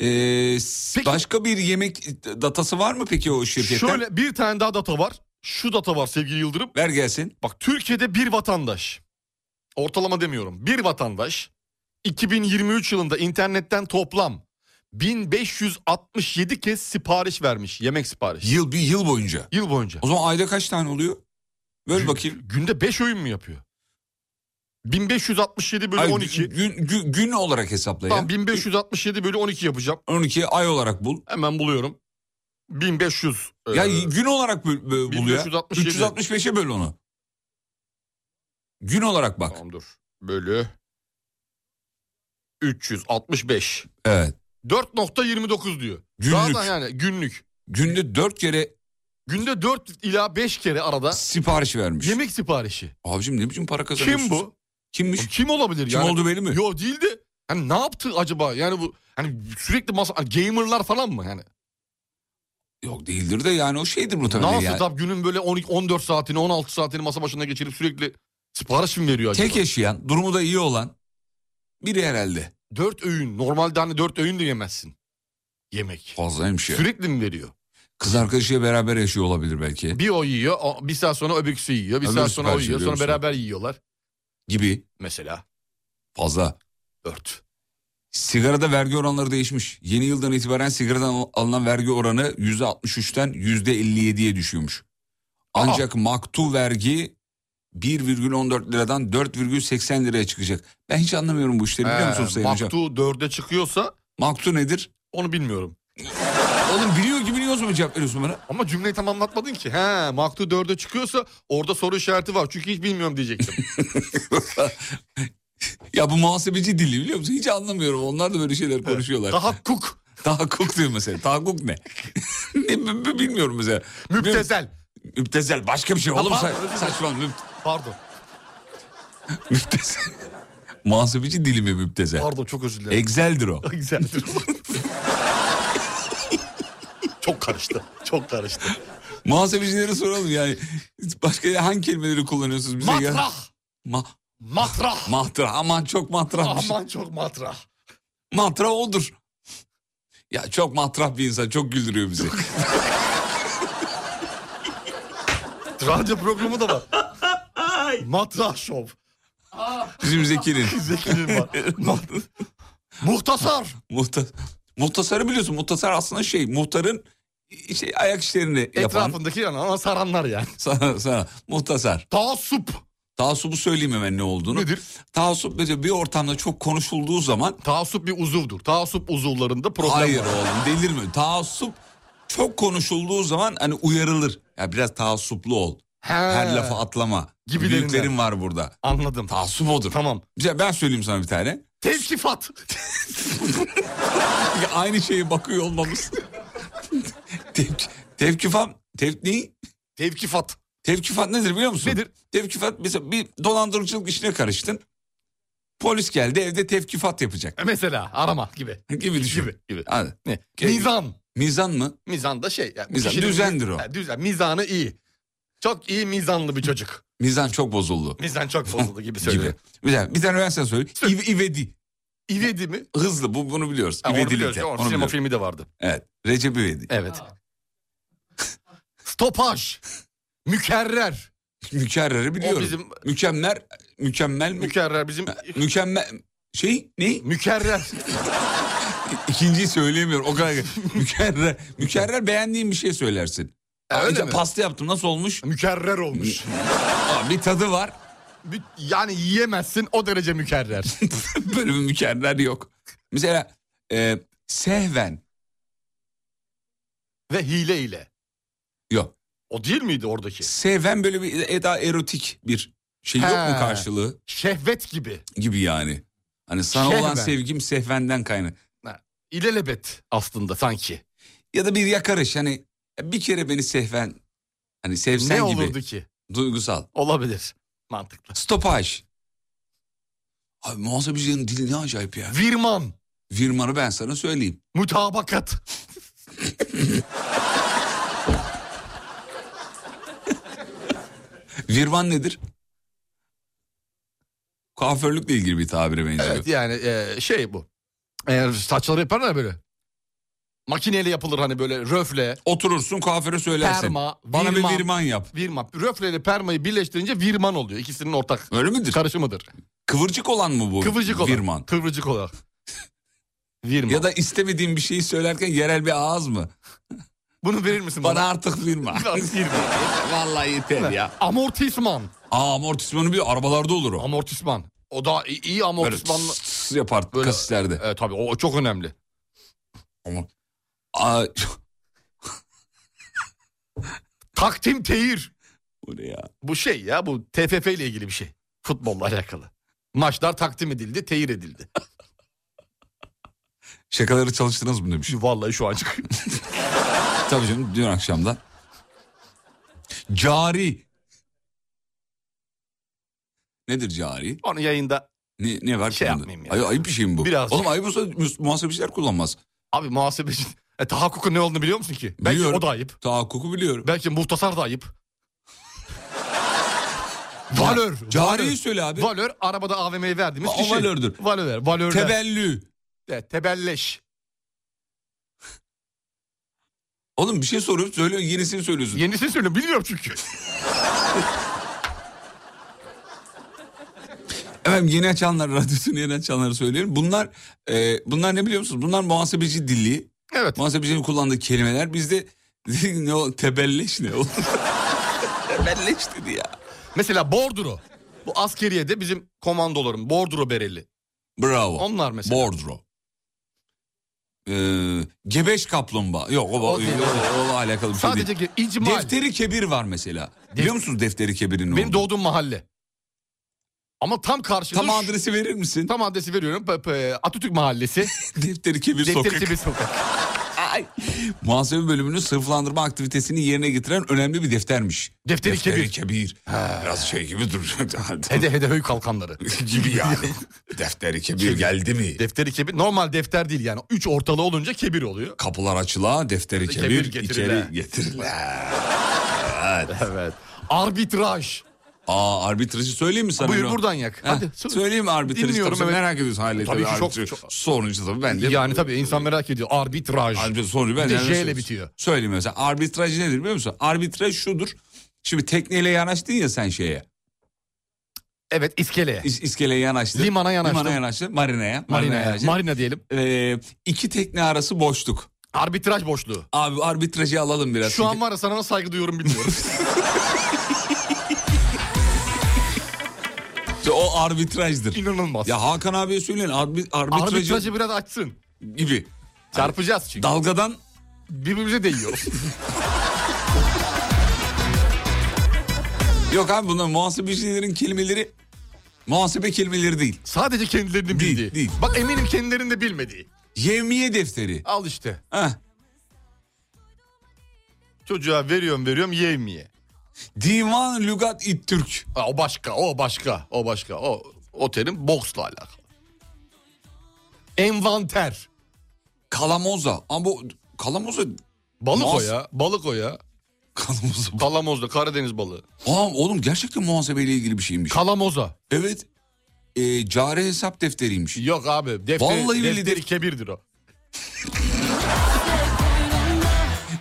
S5: Ee, s-
S7: Peki-
S5: başka bir yemek datası var mı peki o şirketten?
S7: Şöyle bir tane daha data var. Şu data var sevgili Yıldırım.
S5: Ver gelsin.
S7: Bak Türkiye'de bir vatandaş, ortalama demiyorum, bir vatandaş 2023 yılında internetten toplam 1567 kez sipariş vermiş, yemek siparişi.
S5: Yıl bir yıl boyunca.
S7: Yıl boyunca.
S5: O zaman ayda kaç tane oluyor? Böyle
S7: Gü-
S5: bakayım.
S7: Günde 5 öğün mü yapıyor? 1567 bölü
S5: Ay,
S7: 12.
S5: Gün, gün, gün olarak hesapla
S7: Tamam
S5: ya.
S7: 1567 bölü 12 yapacağım.
S5: 12 ay olarak bul.
S7: Hemen buluyorum. 1500. e,
S5: Ya gün olarak bul, bul bul ya.
S7: 1567.
S5: 365'e böl onu. Gün olarak bak.
S7: Tamam dur. Bölü 365.
S5: Evet.
S7: 4.29 diyor.
S5: Günlük.
S7: Zaten yani günlük.
S5: Günde 4 kere
S7: Günde 4 ila 5 kere arada
S5: sipariş vermiş.
S7: yemek siparişi.
S5: Abicim ne biçim para kazanıyorsun?
S7: Kim bu?
S5: Kimmiş?
S7: Kim olabilir
S5: Kim
S7: yani?
S5: oldu belli mi?
S7: Yo değil de hani ne yaptı acaba? Yani bu hani sürekli masa hani gamerlar falan mı Hani yani?
S5: Yok değildir de yani o şeydir muhtemelen
S7: Nasıl
S5: yani.
S7: tabii günün böyle 12 14 saatini 16 saatini masa başında geçirip sürekli sipariş mi veriyor acaba?
S5: Tek yaşayan, durumu da iyi olan biri herhalde.
S7: 4 öğün. Normalde hani 4 öğün de yemezsin. Yemek.
S5: Fazlaymış ya.
S7: Sürekli mi veriyor?
S5: Kız arkadaşıyla beraber yaşıyor olabilir belki.
S7: Bir o yiyor, o- bir saat sonra öbürküsü yiyor, bir
S5: Öbürü
S7: saat sonra o
S5: sipariş
S7: yiyor,
S5: veriyor
S7: sonra
S5: musun?
S7: beraber yiyorlar.
S5: Gibi.
S7: Mesela
S5: Fazla.
S7: 4.
S5: Sigarada vergi oranları değişmiş. Yeni yıldan itibaren sigaradan al- alınan vergi oranı %63'ten %57'ye düşüyormuş. Ancak maktu vergi 1,14 liradan 4,80 liraya çıkacak. Ben hiç anlamıyorum bu işleri biliyor
S7: Ee,
S5: musun Sayın Hocam?
S7: Maktu 4'e çıkıyorsa
S5: Maktu nedir?
S7: onu bilmiyorum.
S5: Oğlum biliyor gibi soruyoruz mu cevap veriyorsun bana?
S7: Ama cümleyi tamamlatmadın ki. He maktu dörde çıkıyorsa orada soru işareti var. Çünkü hiç bilmiyorum diyecektim.
S5: Ya bu muhasebeci dili biliyor musun? Hiç anlamıyorum. Onlar da böyle şeyler konuşuyorlar.
S7: Tahakkuk.
S5: Tahakkuk diyor mesela. Tahakkuk ne? ne b- b- bilmiyorum mesela.
S7: Müptezel.
S5: Müptezel başka bir şey
S7: Ha,
S5: oğlum. Sa-
S7: pardon, özür dilerim.
S5: saçma. Müp-
S7: Pardon.
S5: müptezel. muhasebeci dili mi müptezel?
S7: Pardon çok özür
S5: E-
S7: dilerim.
S5: Excel'dir o.
S7: Güzeldir. çok karıştı. Çok karıştı.
S5: Muhasebecilere soralım yani. Başka hangi kelimeleri kullanıyorsunuz bize? şey ya?
S7: Matrah.
S5: Ma-
S7: Matrah.
S5: mahtra. Aman çok matrahmış.
S7: Aman çok matrah.
S5: Matrah odur. Ya çok matrah bir insan. Çok güldürüyor bizi.
S7: Radyo programı da var. matrah şov.
S5: Bizim Zeki'nin.
S7: Zeki'nin var. Ma- Muhtasar.
S5: Muhta muhtasarı biliyorsun. Muhtasar aslında şey muhtarın şey ayak işlerini yapan
S7: Etrafındaki yani ana saranlar yani.
S5: sana, sana muhtasar.
S7: Taassup.
S5: Taassubu söyleyeyim hemen ne olduğunu.
S7: Nedir?
S5: Taassup mesela bir ortamda çok konuşulduğu zaman
S7: Taassup bir uzuvdur. Taassup uzuvlarında problem
S5: hayır
S7: var.
S5: oğlum delirme. Taassup çok konuşulduğu zaman hani uyarılır. Ya biraz taassuplu ol.
S7: He.
S5: Her lafı atlama.
S7: Gibilerinden.
S5: Büyüklerin var burada.
S7: Anladım.
S5: Taassup odur.
S7: Tamam.
S5: Mesela Ben söyleyeyim sana bir tane.
S7: Tevkifat.
S5: Ya Aynı şeye bakıyor olmamız. Tevk, tevkifam, tev, ne?
S7: Tevkifat.
S5: Tevkifat nedir biliyor musun?
S7: Nedir?
S5: Tevkifat mesela bir dolandırıcılık işine karıştın. Polis geldi evde tevkifat yapacak.
S7: E Mesela arama gibi.
S5: Gibi düşün.
S7: Gibi, gibi.
S5: Hadi.
S7: Ne?
S5: Ke-
S7: Mizan.
S5: Mizan mı?
S7: Mizan da şey. Yani bu
S5: Mizan,
S7: kişinin-
S5: düzendir o.
S7: Ha, düzen. Mizanı iyi. Çok iyi mizanlı bir çocuk.
S5: Mizan çok bozuldu.
S7: Mizan çok bozuldu gibi söylüyor.
S5: Gibi. Bir tane, bir tane ben sana söyleyeyim. İv- İvedi.
S7: İvedi mi?
S5: Hızlı bu, bunu biliyoruz.
S7: Ha, onu biliyoruz.
S5: İvedilite.
S7: Onun
S5: Onu
S7: sinema
S5: biliyoruz.
S7: filmi de vardı.
S5: Evet. Recep İvedi.
S7: Evet. Stopaj. Mükerrer.
S5: Mükerrer'i biliyorum.
S7: O bizim-
S5: Mükemmel, mükemmel, mü-
S7: Mükerrer bizim...
S5: mükemmel, şey ne?
S7: Mükerrer.
S5: İkinciyi söyleyemiyorum. O kadar mükerrer. Mükerrer beğendiğin bir şey söylersin.
S7: Ha,
S5: Aa,
S7: öyle
S5: işte
S7: mi?
S5: Pasta yaptım nasıl olmuş?
S7: Mükerrer olmuş.
S5: Aa, bir tadı var.
S7: Bir- Yani yiyemezsin o derece mükerrer.
S5: Böyle bir mükerrer yok. Mesela e, sehven.
S7: Ve hile ile.
S5: Yok.
S7: O değil miydi oradaki?
S5: Sehven böyle bir eda erotik bir şey yok
S7: He.
S5: mu karşılığı
S7: Şehvet gibi.
S5: gibi yani. Hani sana
S7: Sehven.
S5: olan sevgim sehvenden kaynak.
S7: İlelebet aslında sanki.
S5: Ya da bir yakarış hani bir kere beni sehven hani sevsen
S7: ne
S5: gibi
S7: olurdu ki?
S5: duygusal.
S7: Olabilir. Mantıklı.
S5: Stopaj. Abi muhasebecilerin dili ne acayip ya.
S7: Virman.
S5: Virmanı ben sana söyleyeyim.
S7: Mutabakat.
S5: Virvan nedir? Kuaförlükle ilgili bir tabire benziyor.
S7: Evet yani e, şey bu. Eğer saçları yaparlar ya böyle. Makineyle yapılır hani böyle röfle,
S5: Oturursun kuaföre söylersin.
S7: Perma,
S5: Bana
S7: virman.
S5: bir virman yap.
S7: virma. Röfle ile permayı birleştirince virman oluyor. İkisinin ortak
S5: Öyle midir?
S7: karışımıdır.
S5: Kıvırcık olan mı bu?
S7: Kıvırcık olan.
S5: Virman.
S7: Kıvırcık olan. Virman.
S5: Ya da istemediğin bir şeyi söylerken yerel bir ağız mı?
S7: Bunu verir misin bana?
S5: Bana artık virman. Vallahi yeter ya.
S7: Amortisman.
S5: Aa amortismanı bir arabalarda olur o.
S7: Amortisman. O da iyi, iyi
S5: Böyle
S7: amortismanlı.
S5: tıs tıs yapar
S7: Böyle-
S5: kasislerde.
S7: E, tabii o çok önemli.
S5: Ama- Aa,
S7: Takdim tehir.
S5: bu ne ya?
S7: Bu şey ya bu TFF ile ilgili bir şey. Futbolla alakalı. Maçlar takdim edildi, tehir edildi.
S5: Şakaları çalıştınız mı demiş.
S7: Şu Vallahi şu an çık-
S5: Tabii canım dün akşamdan. Cari. Nedir cari?
S7: Onu yayında
S5: Ne, ne var ki
S7: Şey
S5: bunda?
S7: yapmayayım ya.
S5: Ay, ayıp bir şey mi bu?
S7: Biraz.
S5: Oğlum ayıp olsa müs- muhasebeciler kullanmaz.
S7: abi muhasebeci e, tahakkukun ne olduğunu biliyor musun ki? Belki
S5: Biliyorum.
S7: o da ayıp.
S5: Tahakkuku biliyorum.
S7: Belki muhtasar da ayıp. valör.
S5: Cariyi söyle abi.
S7: valör. Valör arabada AVM'ye verdiğimiz
S5: O
S7: kişi.
S5: valördür.
S7: Valör. Valör.
S5: Tebellü.
S7: E, tebelleş.
S5: Oğlum bir şey soruyorum söylüyorsun yenisini söylüyorsun.
S7: Yenisini söylüyorum bilmiyorum çünkü.
S5: Efendim yeni açanlar radyosunu yeni açanları söyleyelim. Bunlar e, bunlar ne biliyor musunuz? Bunlar muhasebeci dili.
S7: Evet.
S5: Muhasebecinin kullandığı kelimeler bizde ne o tebelleş ne oğlum? tebelleş dedi ya.
S7: Mesela bordro. Bu askeriyede bizim komandoların bordro bereli.
S5: Bravo.
S7: Onlar mesela.
S5: Bordro. Ee, gebeş kaplumbağa. Yok o, o, o, o- o- alakalı bir şey
S7: Sadece
S5: değil.
S7: ki icmal.
S5: Defteri kebir var mesela. Biliyor musunuz defteri kebirin
S7: Benim
S5: ne olduğunu?
S7: doğduğum mahalle. Ama tam karşıda...
S5: Tam adresi verir misin?
S7: Tam adresi veriyorum. P- p- Atatürk Mahallesi.
S5: Defteri kebir
S7: Defteri
S5: sokak.
S7: Tepe Sokak.
S5: Ay. Muhasebe bölümünün sınıflandırma aktivitesini yerine getiren önemli bir deftermiş.
S7: Defteri
S5: Defteri
S7: kebir.
S5: kebir. Biraz şey gibi dur.
S7: Hede hede höy kalkanları.
S5: gibi yani. Defteri kebir geldi mi?
S7: Defteri kebir. Normal defter değil yani. Üç ortalı olunca kebir oluyor.
S5: Kapılar açıla, defteri
S7: Kebir
S5: kebir,
S7: getirile.
S5: içeri getirile.
S7: Evet. Arbitraj.
S5: Aa arbitrajı söyleyeyim mi sana?
S7: Buyur,
S5: Ünal?
S7: buradan yak.
S5: Heh,
S7: Hadi, söyle.
S5: söyleyeyim mi arbitrajı?
S7: Dinliyorum,
S5: Tabii sen
S7: evet.
S5: Merak ediyorsun hali.
S7: Tabii ki çok-
S5: arbitrajı.
S7: çok-
S5: Sorunca tabii ben de.
S7: Yani tabii insan merak ediyor. Arbitraj.
S5: Arbitraj sonucu ben
S7: Bir de
S5: yani
S7: J ile
S5: söyleyeyim.
S7: bitiyor.
S5: Söyleyeyim mesela. Arbitraj nedir biliyor musun? Arbitraj şudur. Şimdi tekneyle yanaştın ya sen şeye.
S7: Evet iskeleye.
S5: İs- iskeleye yanaştın.
S7: Limana yanaştım.
S5: Limana yanaştın. Marina'ya. Marina'ya
S7: Marina,
S5: yanaştın.
S7: marina diyelim.
S5: Ee, iki tekne arası boşluk.
S7: Arbitraj boşluğu.
S5: Abi arbitrajı alalım biraz.
S7: Şu an var ya sana nasıl saygı duyuyorum bilmiyorum.
S5: Çünkü O arbitrajdır.
S7: İnanılmaz.
S5: Ya Hakan abiye söyleyin arbi- arbitrajı,
S7: arbitrajı... biraz açsın.
S5: gibi.
S7: Çarpacağız çünkü.
S5: Dalgadan
S7: Birbirimize değiyoruz.
S5: yok abi bunlar muhasebecilerin kelimeleri muhasebe kelimeleri değil.
S7: Sadece kendilerinin
S5: Değil,
S7: bildiği.
S5: değil.
S7: Bak eminim kendilerinin de bilmediği.
S5: Yevmiye defteri.
S7: Al işte.
S5: Heh.
S7: Çocuğa veriyorum veriyorum yemiye.
S5: Divan Lügat İttürk.
S7: O başka, o başka, o başka. O, o terim boksla alakalı. Envanter.
S5: Kalamoza. Ama bu kalamoza
S7: Balık o
S5: Mas-
S7: ya, balık o ya.
S5: kalamoza.
S7: Kalamozda, Karadeniz balığı.
S5: Aa, oğlum gerçekten muhasebeyle ilgili bir şeymiş.
S7: Kalamoza.
S5: evet. Ee, cari hesap defteriymiş.
S7: Yok abi, defteri,
S5: Vallahi billahi
S7: defteri
S5: def-
S7: kebirdir o.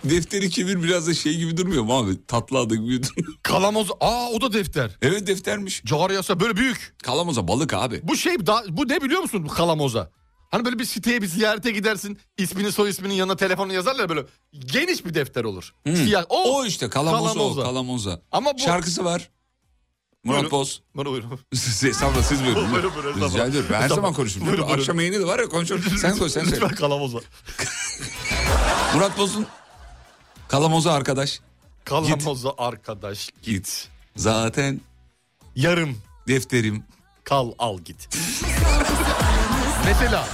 S5: Defteri kebir biraz da şey gibi durmuyor mu abi? Tatlı adı gibi durmuyor.
S7: Kalamoz, aa o da defter.
S5: evet deftermiş.
S7: Cari yasa böyle büyük.
S5: Kalamoza balık abi.
S7: Bu şey, da, bu ne biliyor musun bu kalamoza? Hani böyle bir siteye bir ziyarete gidersin. ismini soy isminin yanına telefonu yazarlar böyle. Geniş bir defter olur. Siyah.
S5: O işte kalamoza,
S7: Hmm. Kalamoza.
S5: o kalamoza.
S7: Ama bu-
S5: Şarkısı var. Murat
S7: Buyurun.
S5: Boz.
S7: Buyurun buyurun.
S5: Siz- Estağfurullah siz buyurun.
S7: Buyurun, buyurun,
S5: Rica
S7: estağfurullah.
S5: ederim. Ben her zaman
S7: Estağfurullah.
S5: konuşurum.
S7: Buyurun, buyurun.
S5: Akşam yayını de var ya konuşurum. sen koy sen söyle.
S7: Lütfen kalamoza.
S5: Murat Boz'un kalamoza arkadaş.
S7: Kalamoza arkadaş git.
S5: Zaten
S7: Yarım
S5: defterim.
S7: kal al git. Mesela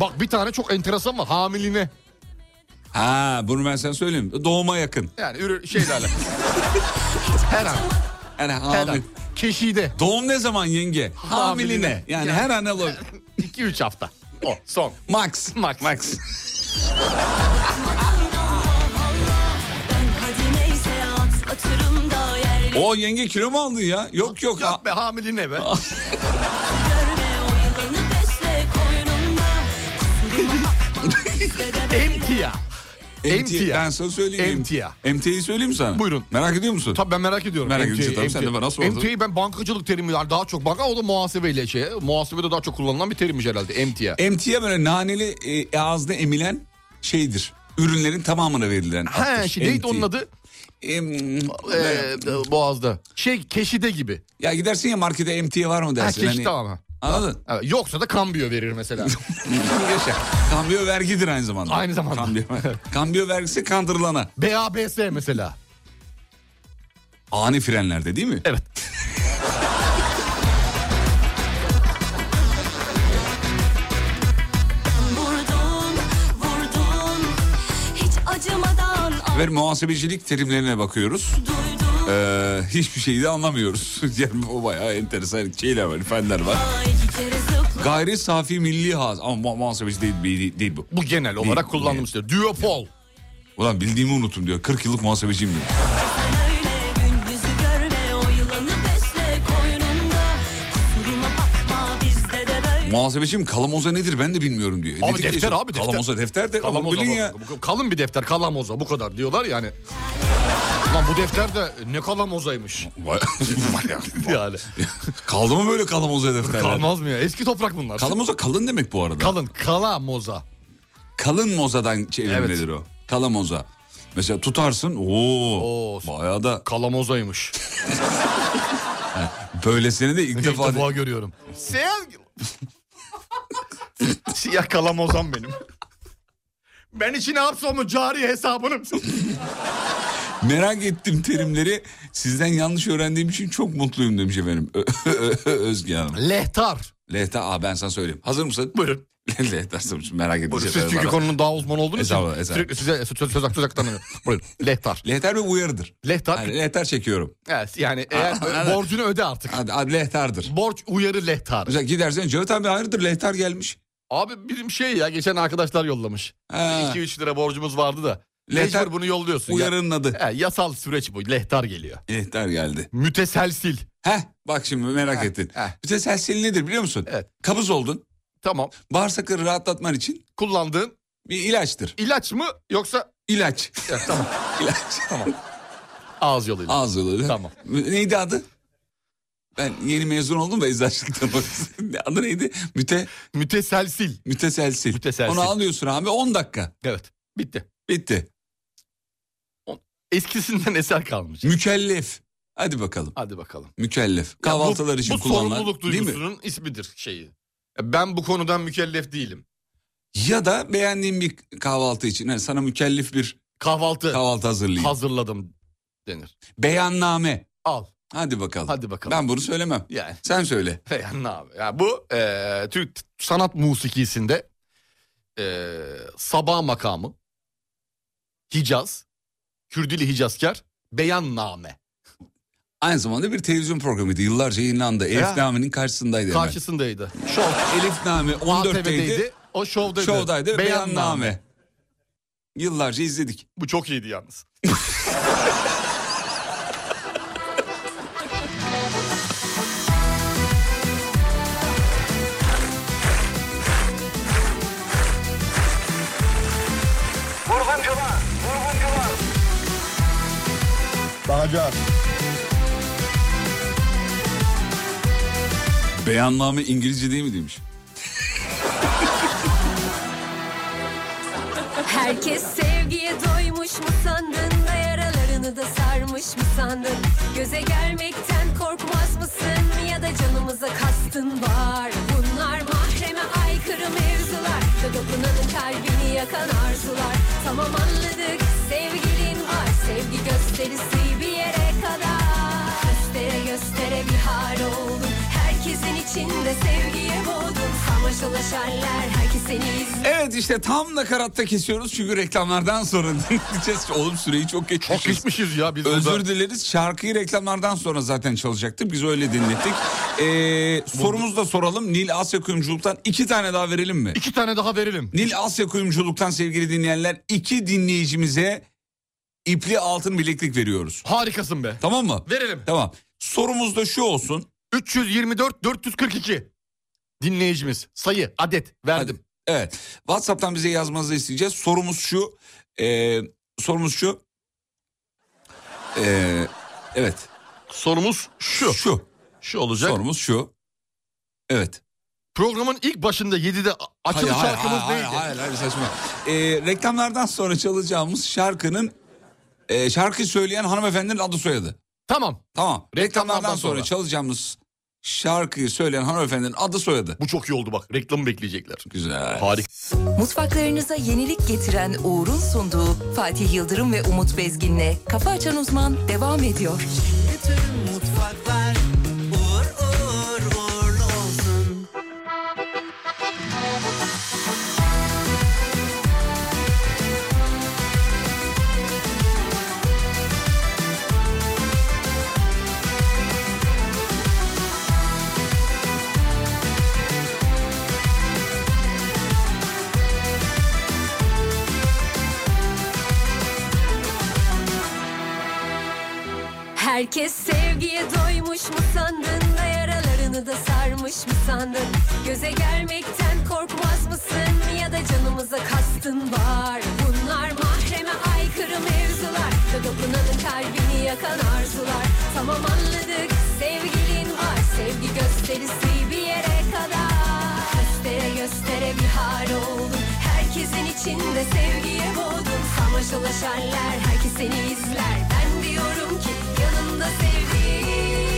S7: bak bir tane çok enteresan var hamiline.
S5: Ha bunu ben sana söyleyeyim. Doğuma yakın.
S7: Yani ürü, şeyle alakalı. her an.
S5: Yani
S7: Her
S5: hamile.
S7: an. Keşide.
S5: Doğum ne zaman yenge?
S7: Hamiline.
S5: Hamiline. Yani, her an olur.
S7: 2-3 hafta. O son.
S5: Max.
S7: Max. Max.
S9: Hadi neyse at atırım da yerle
S5: O yenge kilo mu aldı ya? Yok yok.
S7: Yok be hamiline be.
S9: görme oyalanı besle koynunda kusuruma bakma
S7: Emtia.
S5: MT.
S7: Emtia.
S5: Ben sana söyleyeyim.
S7: MTA.
S5: MT'yi söyleyeyim mi sana?
S7: Buyurun.
S5: Merak ediyor musun?
S7: Tabii ben merak ediyorum.
S5: Merak
S7: MTA,
S5: edince tabii sen de
S7: MTA.
S5: bana sordun.
S7: MTA ben bankacılık terimi yani daha çok banka o da muhasebeyle şey. Muhasebede daha çok kullanılan bir terimmiş herhalde MTA.
S5: MT'ye böyle naneli e, ağızda emilen şeydir. Ürünlerin tamamına verilen.
S7: He şey neydi onun adı?
S5: Em-
S7: Ee, Boğaz'da. Şey keşide gibi.
S5: ya gidersin ya markete MT var mı
S7: Ha,
S5: dersin. Hani
S7: keşide ama.
S5: Anladın?
S7: Evet, Yoksa da kambiyo verir mesela.
S5: Yaşa. Kambiyo vergidir aynı zamanda.
S7: Aynı zamanda.
S5: Kambiyo, kambiyo vergisi kandırılana.
S7: BABS mesela.
S5: Ani frenlerde değil mi?
S7: Evet.
S9: vurdun vurdun hiç acımadan
S5: Ve muhasebecilik terimlerine bakıyoruz.
S9: duydum
S5: Ee, hiçbir şeyi de anlamıyoruz. Yani o bayağı enteresan şeyler var, fenler var.
S9: iki kere zıpla
S5: Gayri safi milli haz. Ama mu- muhasebeci değil, değil, değil bu.
S7: Bu genel
S5: Değil,
S7: olarak kullandım işte. Duopol.
S5: Ulan bildiğimi unuttum diyor. 40 yıllık muhasebeciyim diyor.
S9: öyle gündüzü görme oyalanı besle koynunda kusuruma bakma bizde de böyle
S5: Muhasebeciyim kalamoza nedir ben de bilmiyorum diyor.
S7: Abi
S5: Nedir
S7: defter
S5: diyorsun?
S7: abi, defter.
S5: Kalamoza defter de. Kalamoza
S7: Kalamoza.
S5: bilin ya.
S7: bu- bu- Kalın bir defter kalamoza bu kadar diyorlar yani. Lan bu defter de ne kalamozaymış.
S5: Vay- Vay ya.
S7: Yani.
S5: Kaldı mı böyle kalamoza defterler?
S7: Kalmaz mı ya? Eski toprak bunlar.
S5: Kalamoza kalın demek bu arada.
S7: Kalın. Kalamoza.
S5: kalın mozadan çevirmedir o. Kalamoza. Mesela tutarsın ooo
S7: Oo.
S5: bayağı da
S7: Kalamozaymış.
S5: böylesini de ilk
S7: İlk
S5: defa
S7: defa görüyorum. Siyah... Siyah kalamozam benim. Ben içine hapsolmuş cari hesabını.
S5: Merak ettim terimleri. Sizden yanlış öğrendiğim için çok mutluyum demiş efendim. Özge Hanım.
S7: Lehtar.
S5: Lehta abi ben sana söyleyeyim. Hazır mısın?
S7: Buyurun.
S5: Lehta tabii ki merak ettim.
S7: Siz çünkü konunun daha uzman olduğunuz için
S5: Estağfurullah, estağfurullah.
S7: sürekli size söz, söz, söz hakkı tanıyor. Buyurun. Lehtar.
S5: Lehter bir uyarıdır.
S7: Lehtar.
S5: Yani lehter çekiyorum.
S7: Evet yani eğer
S5: Anladım.
S7: borcunu öde artık.
S5: Hadi, hadi lehterdir.
S7: Borç uyarı lehtarı.
S5: Mesela gidersen Cevdet abi hayırdır lehter gelmiş.
S7: Abi bizim şey ya geçen arkadaşlar yollamış.
S5: Ha,
S7: 2-3 lira borcumuz vardı da.
S5: Lehter-
S7: Mecbur bunu yolluyorsun. ya.
S5: uyarının adı.
S7: He, yasal süreç bu. Lehtar geliyor.
S5: Lehter geldi.
S7: Müteselsil.
S5: Heh bak şimdi merak ettin.
S7: heh.
S5: Bir de selsil nedir biliyor musun?
S7: Evet.
S5: Kabız oldun.
S7: Tamam.
S5: Bağırsakları rahatlatman için
S7: Kullandığın
S5: bir ilaçtır.
S7: ilaç mı yoksa
S5: İlaç.
S7: Evet, tamam.
S5: İlaç.
S7: ağız yoluyla?
S5: Ağız yolu.
S7: Tamam.
S5: Neydi adı? Ben yeni mezun oldum da eczacılıktan. adı neydi? Müte,
S7: Müteselsil.
S5: müteselsil.
S7: Müteselsil.
S5: Onu alıyorsun abi 10 dakika.
S7: Evet. Bitti.
S5: Bitti.
S7: Eskisinden eser kalmış.
S5: Mükellef. Hadi bakalım.
S7: Hadi bakalım.
S5: Mükellef.
S7: Ya
S5: Kahvaltılar
S7: bu,
S5: için
S7: bu
S5: kullanılan.
S7: sorumluluk
S5: değil mi?
S7: duygusunun ismidir şeyi. Ya Ben bu konudan mükellef değilim.
S5: Ya da beğendiğin bir kahvaltı için. Yani sana mükellef bir
S7: Kahvaltı
S5: kahvaltı hazırlayayım.
S7: hazırladım denir.
S5: Beyanname.
S7: Al.
S5: Hadi bakalım.
S7: Hadi bakalım.
S5: Ben bunu söylemem.
S7: Yani,
S5: Sen söyle.
S7: yani ne abi? Ya bu eee, Türk sanat musikisinde eee sabah makamı, Hicaz, Kürdili Hicazkar, beyanname.
S5: Aynı zamanda bir televizyon programıydı. Yıllarca yayınlandı. Elifname'nin karşısındaydı hemen.
S7: Karşısındaydı. Şov.
S5: Elifname 14'teydi.
S7: ATV'deydi. O şovdaydı.
S5: Show'daydı. Beyanname. Yıllarca izledik.
S7: Bu çok iyiydi yalnız.
S5: Beyanname İngilizce değil mi demiş?
S11: Herkes sevgiye doymuş mu sandın da yaralarını da sarmış mı sandın Göze gelmekten korkmaz mısın ya da canımıza kastın var Bunlar mahreme aykırı mevzular da dokunanın kalbini yakan arzular Tamam anladık sevgilin var sevgi gösterisi bir yere kadar Göstere göstere bir hal oldun herkesin içinde sevgiye boğdun Samaşalaşarlar herkes seni izliyor
S5: Evet işte tam da karatta kesiyoruz çünkü reklamlardan sonra dinleyeceğiz. Oğlum süreyi çok
S7: Çok
S5: geçmişiz.
S7: geçmişiz ya biz
S5: Özür
S7: burada.
S5: dileriz. Şarkıyı reklamlardan sonra zaten çalacaktık. Biz öyle dinlettik. Ee, sorumuzu da soralım. Nil Asya Kuyumculuk'tan iki tane daha verelim mi?
S7: İki tane daha verelim.
S5: Nil Asya Kuyumculuk'tan sevgili dinleyenler iki dinleyicimize ipli altın bileklik veriyoruz.
S7: Harikasın be.
S5: Tamam mı?
S7: Verelim.
S5: Tamam. Sorumuz da şu olsun.
S7: 324 442 dinleyicimiz sayı adet verdim.
S5: Evet. WhatsApp'tan bize yazmanızı isteyeceğiz. Sorumuz şu. eee, sorumuz şu. Eee, evet.
S7: Sorumuz şu.
S5: Şu.
S7: Şu olacak.
S5: Sorumuz şu. Evet.
S7: Programın ilk başında 7'de açılış şarkımız
S5: hayır,
S7: neydi?
S5: hayır, hayır, saçma. Eee, reklamlardan sonra çalacağımız şarkının eee şarkı söyleyen hanımefendinin adı soyadı.
S7: Tamam.
S5: Tamam. Reklamlardan,
S7: Reklamlardan
S5: sonra.
S7: sonra.
S5: çalacağımız şarkıyı söyleyen hanımefendinin adı soyadı.
S7: Bu çok iyi oldu bak. Reklamı bekleyecekler.
S5: Güzel.
S7: Harika.
S1: Mutfaklarınıza yenilik getiren Uğur'un sunduğu Fatih Yıldırım ve Umut Bezgin'le Kafa Açan Uzman devam ediyor.
S8: Tüm mutfaklar uğur uğur uğurlu olsun.
S11: Herkes sevgiye doymuş mu sandın da yaralarını da sarmış mı sandın Göze gelmekten korkmaz mısın ya da canımıza kastın var Bunlar mahreme aykırı mevzular da dokunanın kalbini yakan arzular Tamam anladık sevgilin var sevgi gösterisi bir yere kadar Göstere göstere bir hal oldun herkesin içinde sevgiye boğdun Samaşalaşarlar herkes seni izler ben diyorum ki yanımda sevdiğim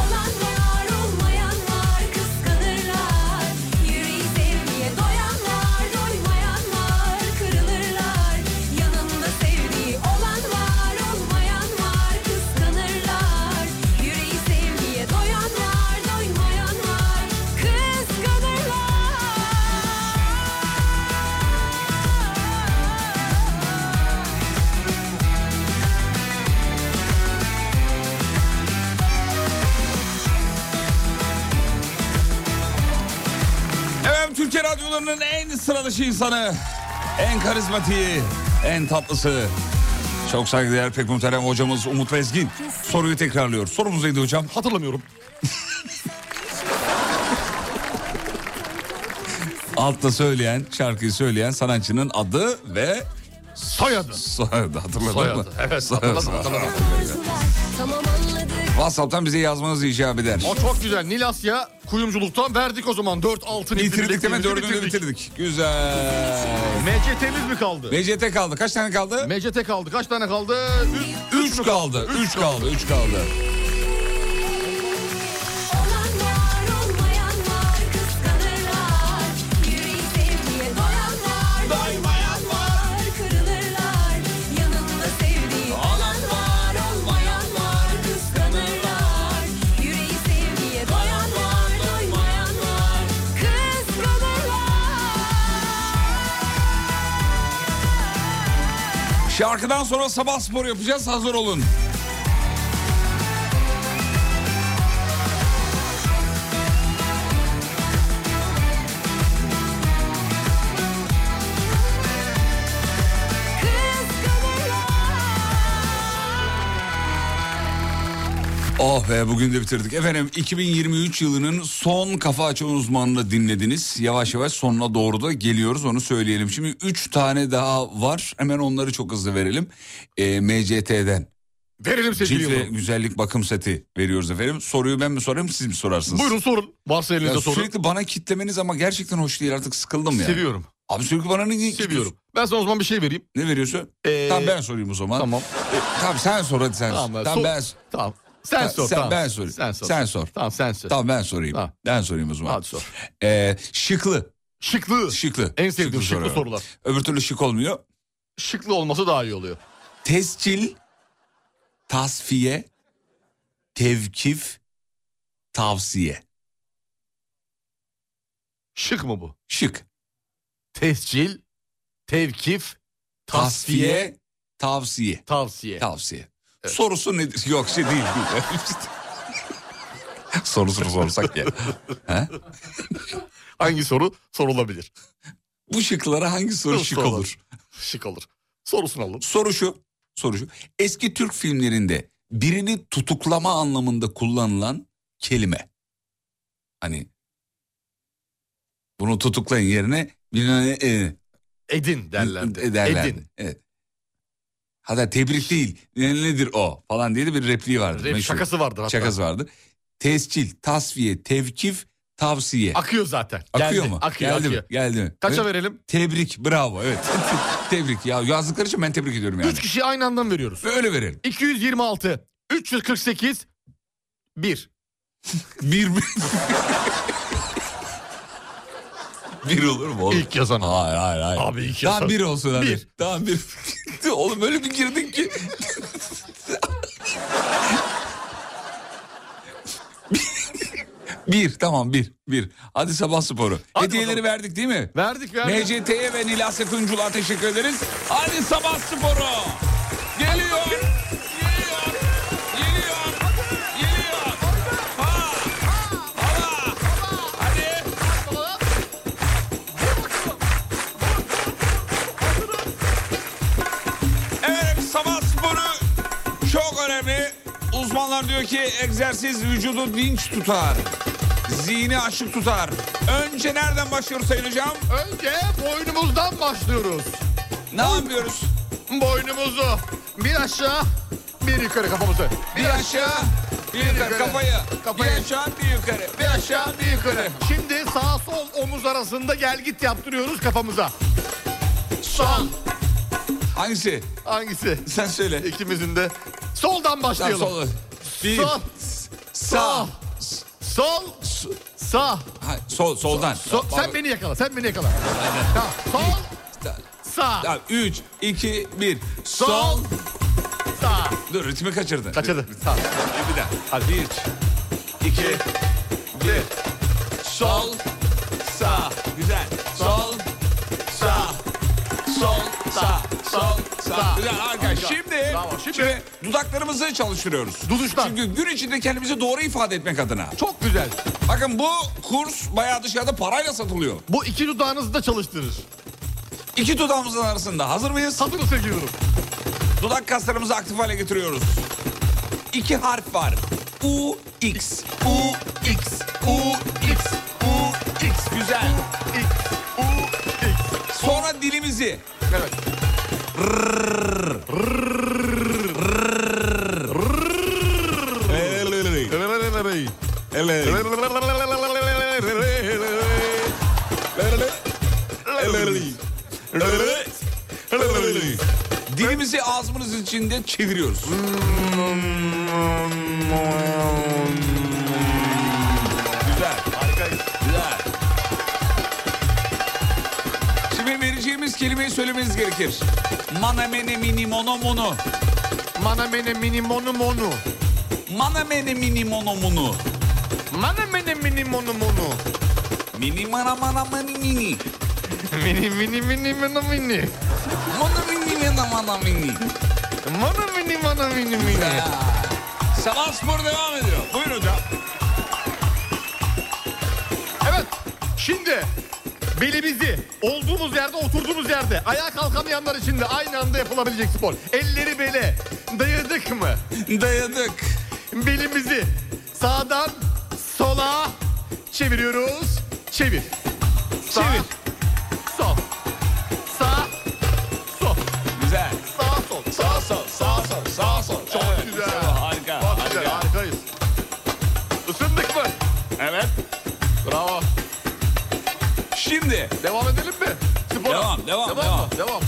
S11: Olan var olmayan var kıskanırlar Yüreği sevgiye doyanlar doymayan
S5: Türkiye radyolarının en sıradışı insanı, en karizmatiği, en tatlısı. Çok saygıdeğer pek muhterem hocamız Umut Bezgin soruyu tekrarlıyor. Sorumuz neydi hocam?
S7: Hatırlamıyorum.
S5: Altta söyleyen, şarkıyı söyleyen sanatçının adı ve
S7: Soyadı.
S5: soyadı hatırladın mı?
S7: Soyadı. Evet hatırladım hatırladım.
S4: Tamam anladık.
S5: WhatsApp'tan bize yazmanız icap eder.
S7: O çok güzel. Nilasya kuyumculuktan verdik o zaman. 4 altın
S5: Bitirdik deme dördünü bitirdik. Güzel.
S7: MCT'miz mi kaldı?
S5: MCT kaldı. Kaç tane kaldı?
S7: MCT kaldı. Kaç tane kaldı? Üç-
S5: Üç kaldı. Üç kaldı. Üç kaldı.
S9: Olanlar olmayanlar kıskanırlar Yüreği sevdiğe doyanlar doymayanlar kırılırlar Yanında sevdiği olan var olmayanlar kıskanırlar Yüreği sevdiğe doyanlar doymayanlar kıskanırlar
S5: Şarkıdan sonra sabah spor yapacağız. Hazır olun. Oh be bugün de bitirdik. Efendim 2023 yılının son kafa açan uzmanını dinlediniz. Yavaş yavaş sonuna doğru da geliyoruz onu söyleyelim. Şimdi 3 tane daha var. Hemen onları çok hızlı verelim. Ee, MCT'den.
S7: Verelim sevgili
S5: Cilt ve
S7: Yıldırım.
S5: güzellik bakım seti veriyoruz efendim. Soruyu ben mi sorayım siz mi sorarsınız?
S7: Buyurun sorun. Varsa
S5: Ya
S7: elinizde sorun.
S5: sürekli bana kitlemeniz ama gerçekten hoş değil artık sıkıldım ya.
S7: Seviyorum.
S5: Abi sürekli bana ne
S7: Seviyorum. Ben sana o zaman bir şey vereyim.
S5: Ne veriyorsun?
S7: Ee,
S5: tamam ben sorayım o zaman.
S7: Tamam.
S5: Ee, tamam sen sor hadi sen. Tamam,
S7: Tamam,
S5: tamam
S7: sor-
S5: ben sor.
S7: Tamam. Sen
S5: Ha,
S7: sor.
S5: sen-
S7: tamam.
S5: ben sorayım.
S7: Sen sor.
S5: Sen sor.
S7: Tamam sen sor.
S5: Tamam ben sorayım.
S7: Tamam.
S5: Ben sorayım o zaman.
S7: Hadi sor.
S5: Ee, şıklı.
S7: Şıklı.
S5: Şıklı.
S7: En sevdiğim şıklı
S5: soruyorum.
S7: sorular.
S5: Öbür türlü şık olmuyor.
S7: Şıklı olması daha iyi oluyor.
S5: Tescil, tasfiye, tevkif, tavsiye.
S7: Şık mı bu?
S5: Şık.
S7: Tescil, tevkif, tasfiye,
S5: Tasfiye, tavsiye.
S7: tavsiye.
S5: Tavsiye. Sorusu nedir? Yok şey değil. değil. Sorusunu sorsak ya. Ha?
S7: Hangi soru sorulabilir?
S5: Bu şıklara hangi soru şık
S7: Soru.
S5: olur?
S7: Şık olur. Sorusunu alalım.
S5: Soru şu. Soru şu. Eski Türk filmlerinde birini tutuklama anlamında kullanılan kelime. Hani bunu tutuklayın yerine birine e,
S7: Edin derlerdi.
S5: ederlerdi.
S7: Edin.
S5: Evet. Hatta tebrik değil. Ne- Nedir o falan diye de bir repliği vardır.
S7: Rap
S5: meşhur.
S7: şakası vardır hatta.
S5: Şakası vardır. Tescil, tasfiye, tevkif, tavsiye.
S7: Akıyor zaten.
S5: akıyor
S7: Geldi,
S5: mu?
S7: Akıyor,
S5: Geldi
S7: akıyor.
S5: mi? Geldi mi?
S7: Kaça
S5: Evet.
S7: verelim?
S5: Tebrik, bravo. Evet. tebrik. Ya yazdıkları için ben tebrik ediyorum yani.
S7: Üç kişiyi aynı anda mı veriyoruz?
S5: Öyle verelim.
S7: 226, 348, 1.
S5: Bir mi? bir olur mu oğlum?
S7: İlk yazan.
S5: Hayır hayır hayır.
S7: Abi ilk
S5: Tamam
S7: yazan.
S5: bir olsun hadi.
S7: Bir.
S5: Tamam bir. oğlum öyle bir girdin ki. bir tamam bir bir. Hadi sabah sporu.
S7: Hadi
S5: Hediyeleri
S7: bakalım.
S5: verdik değil mi?
S7: Verdik verdik.
S5: MCT'ye ve Nilas Yakıncılar teşekkür ederiz. Hadi sabah sporu. Geliyor. Geliyor. Geliyor. Geliyor. Ha. Ha. Hadi. Evet sabah sporu çok önemli. Uzmanlar diyor ki egzersiz vücudu dinç tutar. Zihni açık tutar. Önce nereden başlıyoruz Sayın Hocam?
S7: Önce boynumuzdan başlıyoruz.
S5: Ne yapıyoruz?
S7: Boynumuzu bir aşağı, bir yukarı kafamızı.
S5: Bir aşağı, bir yukarı.
S7: yukarı.
S5: Kafayı.
S7: Kafayı.
S5: Bir aşağı, bir yukarı.
S7: Bir aşağı bir yukarı. Şimdi sağ sol omuz arasında gel git yaptırıyoruz kafamıza. Sol.
S5: Hangisi?
S7: Hangisi?
S5: Sen söyle.
S7: İkimizin de. Soldan
S5: Sağ,
S7: başlayalım.
S5: sol. Bir,
S7: Sol.
S5: sağ.
S7: Sol. Sağ.
S5: Ha, sol, soldan.
S7: Sol. Sen beni yakala. Sen beni yakala. Tamam. Sol. Sağ.
S5: Tamam, üç, iki, bir. Sol.
S7: Sol. Sağ.
S5: Dur, ritmi kaçırdın.
S7: Kaçadı. Sağ.
S5: Bir daha. Hadi. Bir, iki, bir. Sol, sağ. Güzel. Sol, sağ. Sol, sağ. Sol, sağ.
S7: Bravo.
S5: Güzel arkadaş. Şimdi,
S7: Bravo. Şimdi-
S5: şimdi, dudaklarımızı çalıştırıyoruz.
S7: Duduşlar.
S5: Çünkü gün içinde kendimizi doğru ifade etmek adına.
S7: Çok güzel.
S5: Bakın bu kurs bayağı dışarıda parayla satılıyor.
S7: Bu iki dudağınızı da çalıştırır.
S5: İki dudağımızın arasında. Hazır mıyız?
S7: Satın seviyorum.
S5: Dudak kaslarımızı aktif hale getiriyoruz. İki harf var. U, X. U, X. U, X. U, X. Güzel.
S7: U, X.
S5: Sonra dilimizi.
S7: Evet.
S5: Dilimizi ağzımızın içinde çeviriyoruz. Güzel.
S7: Harikayız.
S5: Güzel. Şimdi vereceğimiz kelimeyi söylemeniz gerekir. Mana mene mini mono mono.
S7: Mana mene mini monu monu.
S5: Mana mene mini mono mono.
S7: Mana mene mini monu monu.
S5: Mini mana mana mani mini.
S7: Mini mini mini mini mini.
S5: Mana mini mana mana mini.
S7: Mana mini mana mini mini.
S5: Ya. Sabah spor devam ediyor. Buyurun hocam.
S7: Evet. Şimdi belimizi olduğumuz yerde oturduğumuz yerde ayağa kalkamayanlar için de aynı anda yapılabilecek spor. Elleri bele dayadık mı?
S5: Dayadık.
S7: Belimizi sağdan sola çeviriyoruz. Çevir. Sağ,
S5: Çevir.
S7: Sol. Sağ. Sol.
S5: Güzel.
S7: Sağ sol. Sağ sol. Sağ sol. Sağ sol. Çok
S5: Evet,
S7: güzel.
S5: güzel, harika,
S7: Çok güzel.
S5: harika.
S7: Harikayız. Isındık mı?
S5: Evet.
S7: Bravo.
S5: Şimdi
S7: Devam edelim mi? Spora.
S5: Devam, devam,
S7: mı? devam.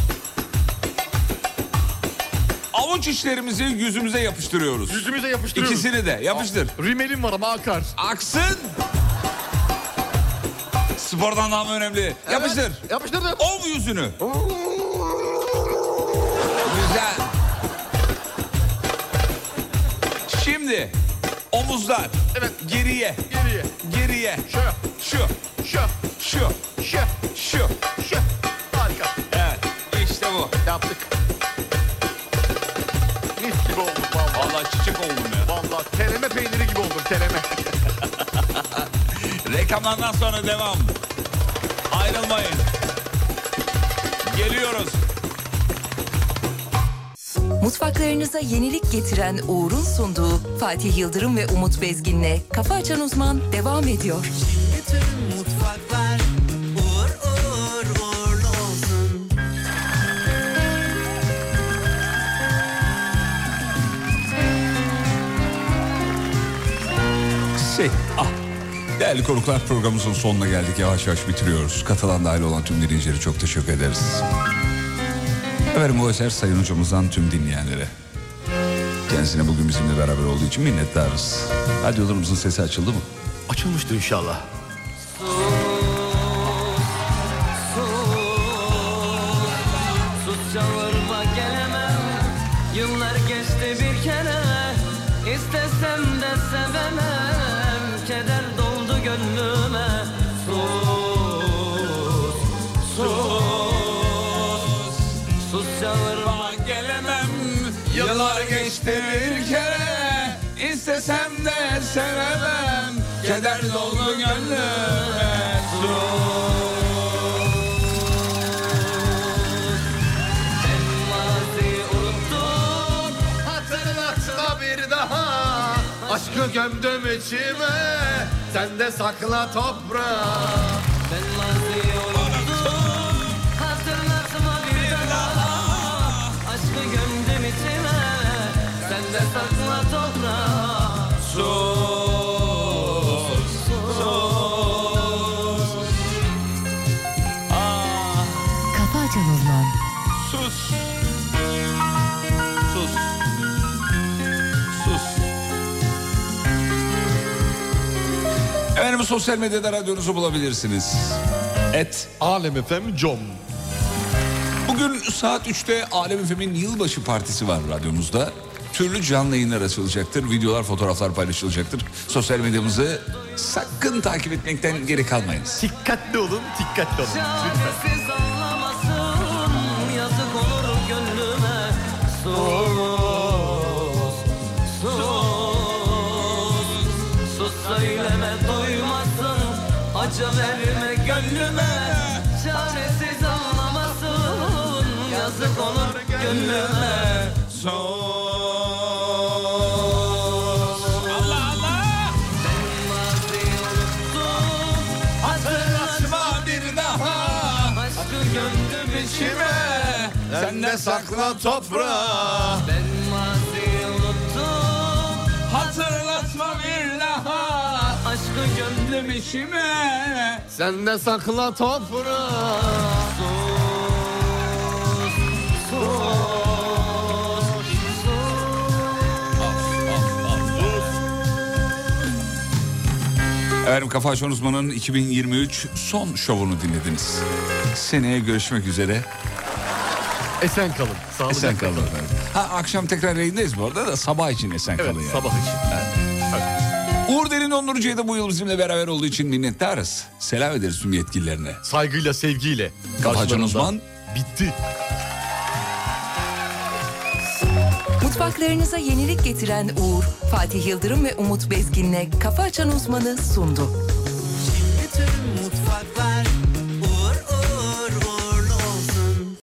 S5: avuç içlerimizi yüzümüze yapıştırıyoruz.
S7: Yüzümüze yapıştırıyoruz.
S5: İkisini de yapıştır.
S7: Rimelim var ama akar.
S5: Aksın. Spordan daha mı önemli? Yapıştır.
S7: Evet, yapıştırdım.
S5: Ov yüzünü. Güzel. Şimdi omuzlar.
S7: Evet.
S5: Geriye,
S7: Geriye.
S5: geriye.
S7: Şu,
S5: Şu,
S7: şu,
S5: şu,
S7: şu,
S5: şu.
S7: şu. Harika.
S5: Evet. İşte bu.
S7: Yaptık. Mis gibi oldum vallahi.
S5: Vallahi çiçek oldum ya.
S7: Vallahi tereme peyniri gibi oldum tereme.
S5: Reklamlardan sonra devam. Ayrılmayın. Geliyoruz.
S1: Mutfaklarınıza yenilik getiren Uğur'un sunduğu Fatih Yıldırım ve Umut Bezgin'le Kafa Açan Uzman devam ediyor.
S8: Bütün mutfaklar uğur uğur uğurlu olsun.
S5: Şey, ah. Değerli konuklar programımızın sonuna geldik. Yavaş yavaş bitiriyoruz. Katılan dahil olan tüm dinleyicilere çok teşekkür ederiz. Efendim bu eser Sayın Hocamızdan tüm dinleyenlere. Kendisine bugün bizimle beraber olduğu için minnettarız. Radyolarımızın sesi açıldı mı?
S7: Açılmıştır inşallah.
S6: Sus çağırma gelemem Yıllar geçti bir kere İstesem de sevemem Keder doldu gönlüme Sus, sus Sus çağırma
S5: Gelemem yıllar geçti bir kere İstesem de sevemem Keder doldu gönlüme
S7: Hatırlatma bir daha Aşkı gömdüm içime Sen de sakla toprağa
S6: Hatırlatma bir daha Aşkı gömdüm içime Sen de sakla toprağa Sus Sus Ah
S1: Kafa Açan Uzman
S5: Sus. Sus. Sus. Efendim sosyal medyada radyonuzu bulabilirsiniz. Et.
S7: Alem efem com
S5: Bugün saat 3'te Alem Efem'in yılbaşı partisi var radyomuzda. Türlü canlı yayınlar açılacaktır. Videolar, fotoğraflar paylaşılacaktır. Sosyal medyamızı sakın takip etmekten geri kalmayınız.
S7: Dikkatli olun dikkatli olun Lütfen.
S6: Çaresiz anlamasın Yazık olur gönlüme
S8: Parça verme gönlüme Çaresiz ağlamasın Yazık olur gönlüme
S6: Allah Allah. Hatırlatma bir daha.
S8: Aşkı gömdüm içime
S5: Senden sakla toprağa.
S8: Ben maziyi unuttum
S6: Hatırlatma bir daha.
S8: Aşkı gömdüm içime
S6: Kime?
S7: Senden sakla toprağı.
S5: Efendim Kafa Açan Uzman'ın 2023 son şovunu dinlediniz. Seneye görüşmek üzere.
S7: Esen kalın. Sağlıcakla
S5: Esen kalın efendim. Ha, akşam tekrar yayındayız bu arada da sabah için esen
S7: Evet
S5: kalın yani.
S7: sabah için.
S5: Uğur Derin Onurcu'ya da bu yıl bizimle beraber olduğu için minnettarız. Selam ederiz tüm yetkililerine.
S7: Saygıyla sevgiyle.
S5: Kafa Açan
S7: karşılarında.
S5: Uzman
S7: Bitti.
S1: Mutfaklarınıza yenilik getiren Uğur, Fatih Yıldırım ve Umut Bezgin'le Kafa Açan Uzman'ı sundu.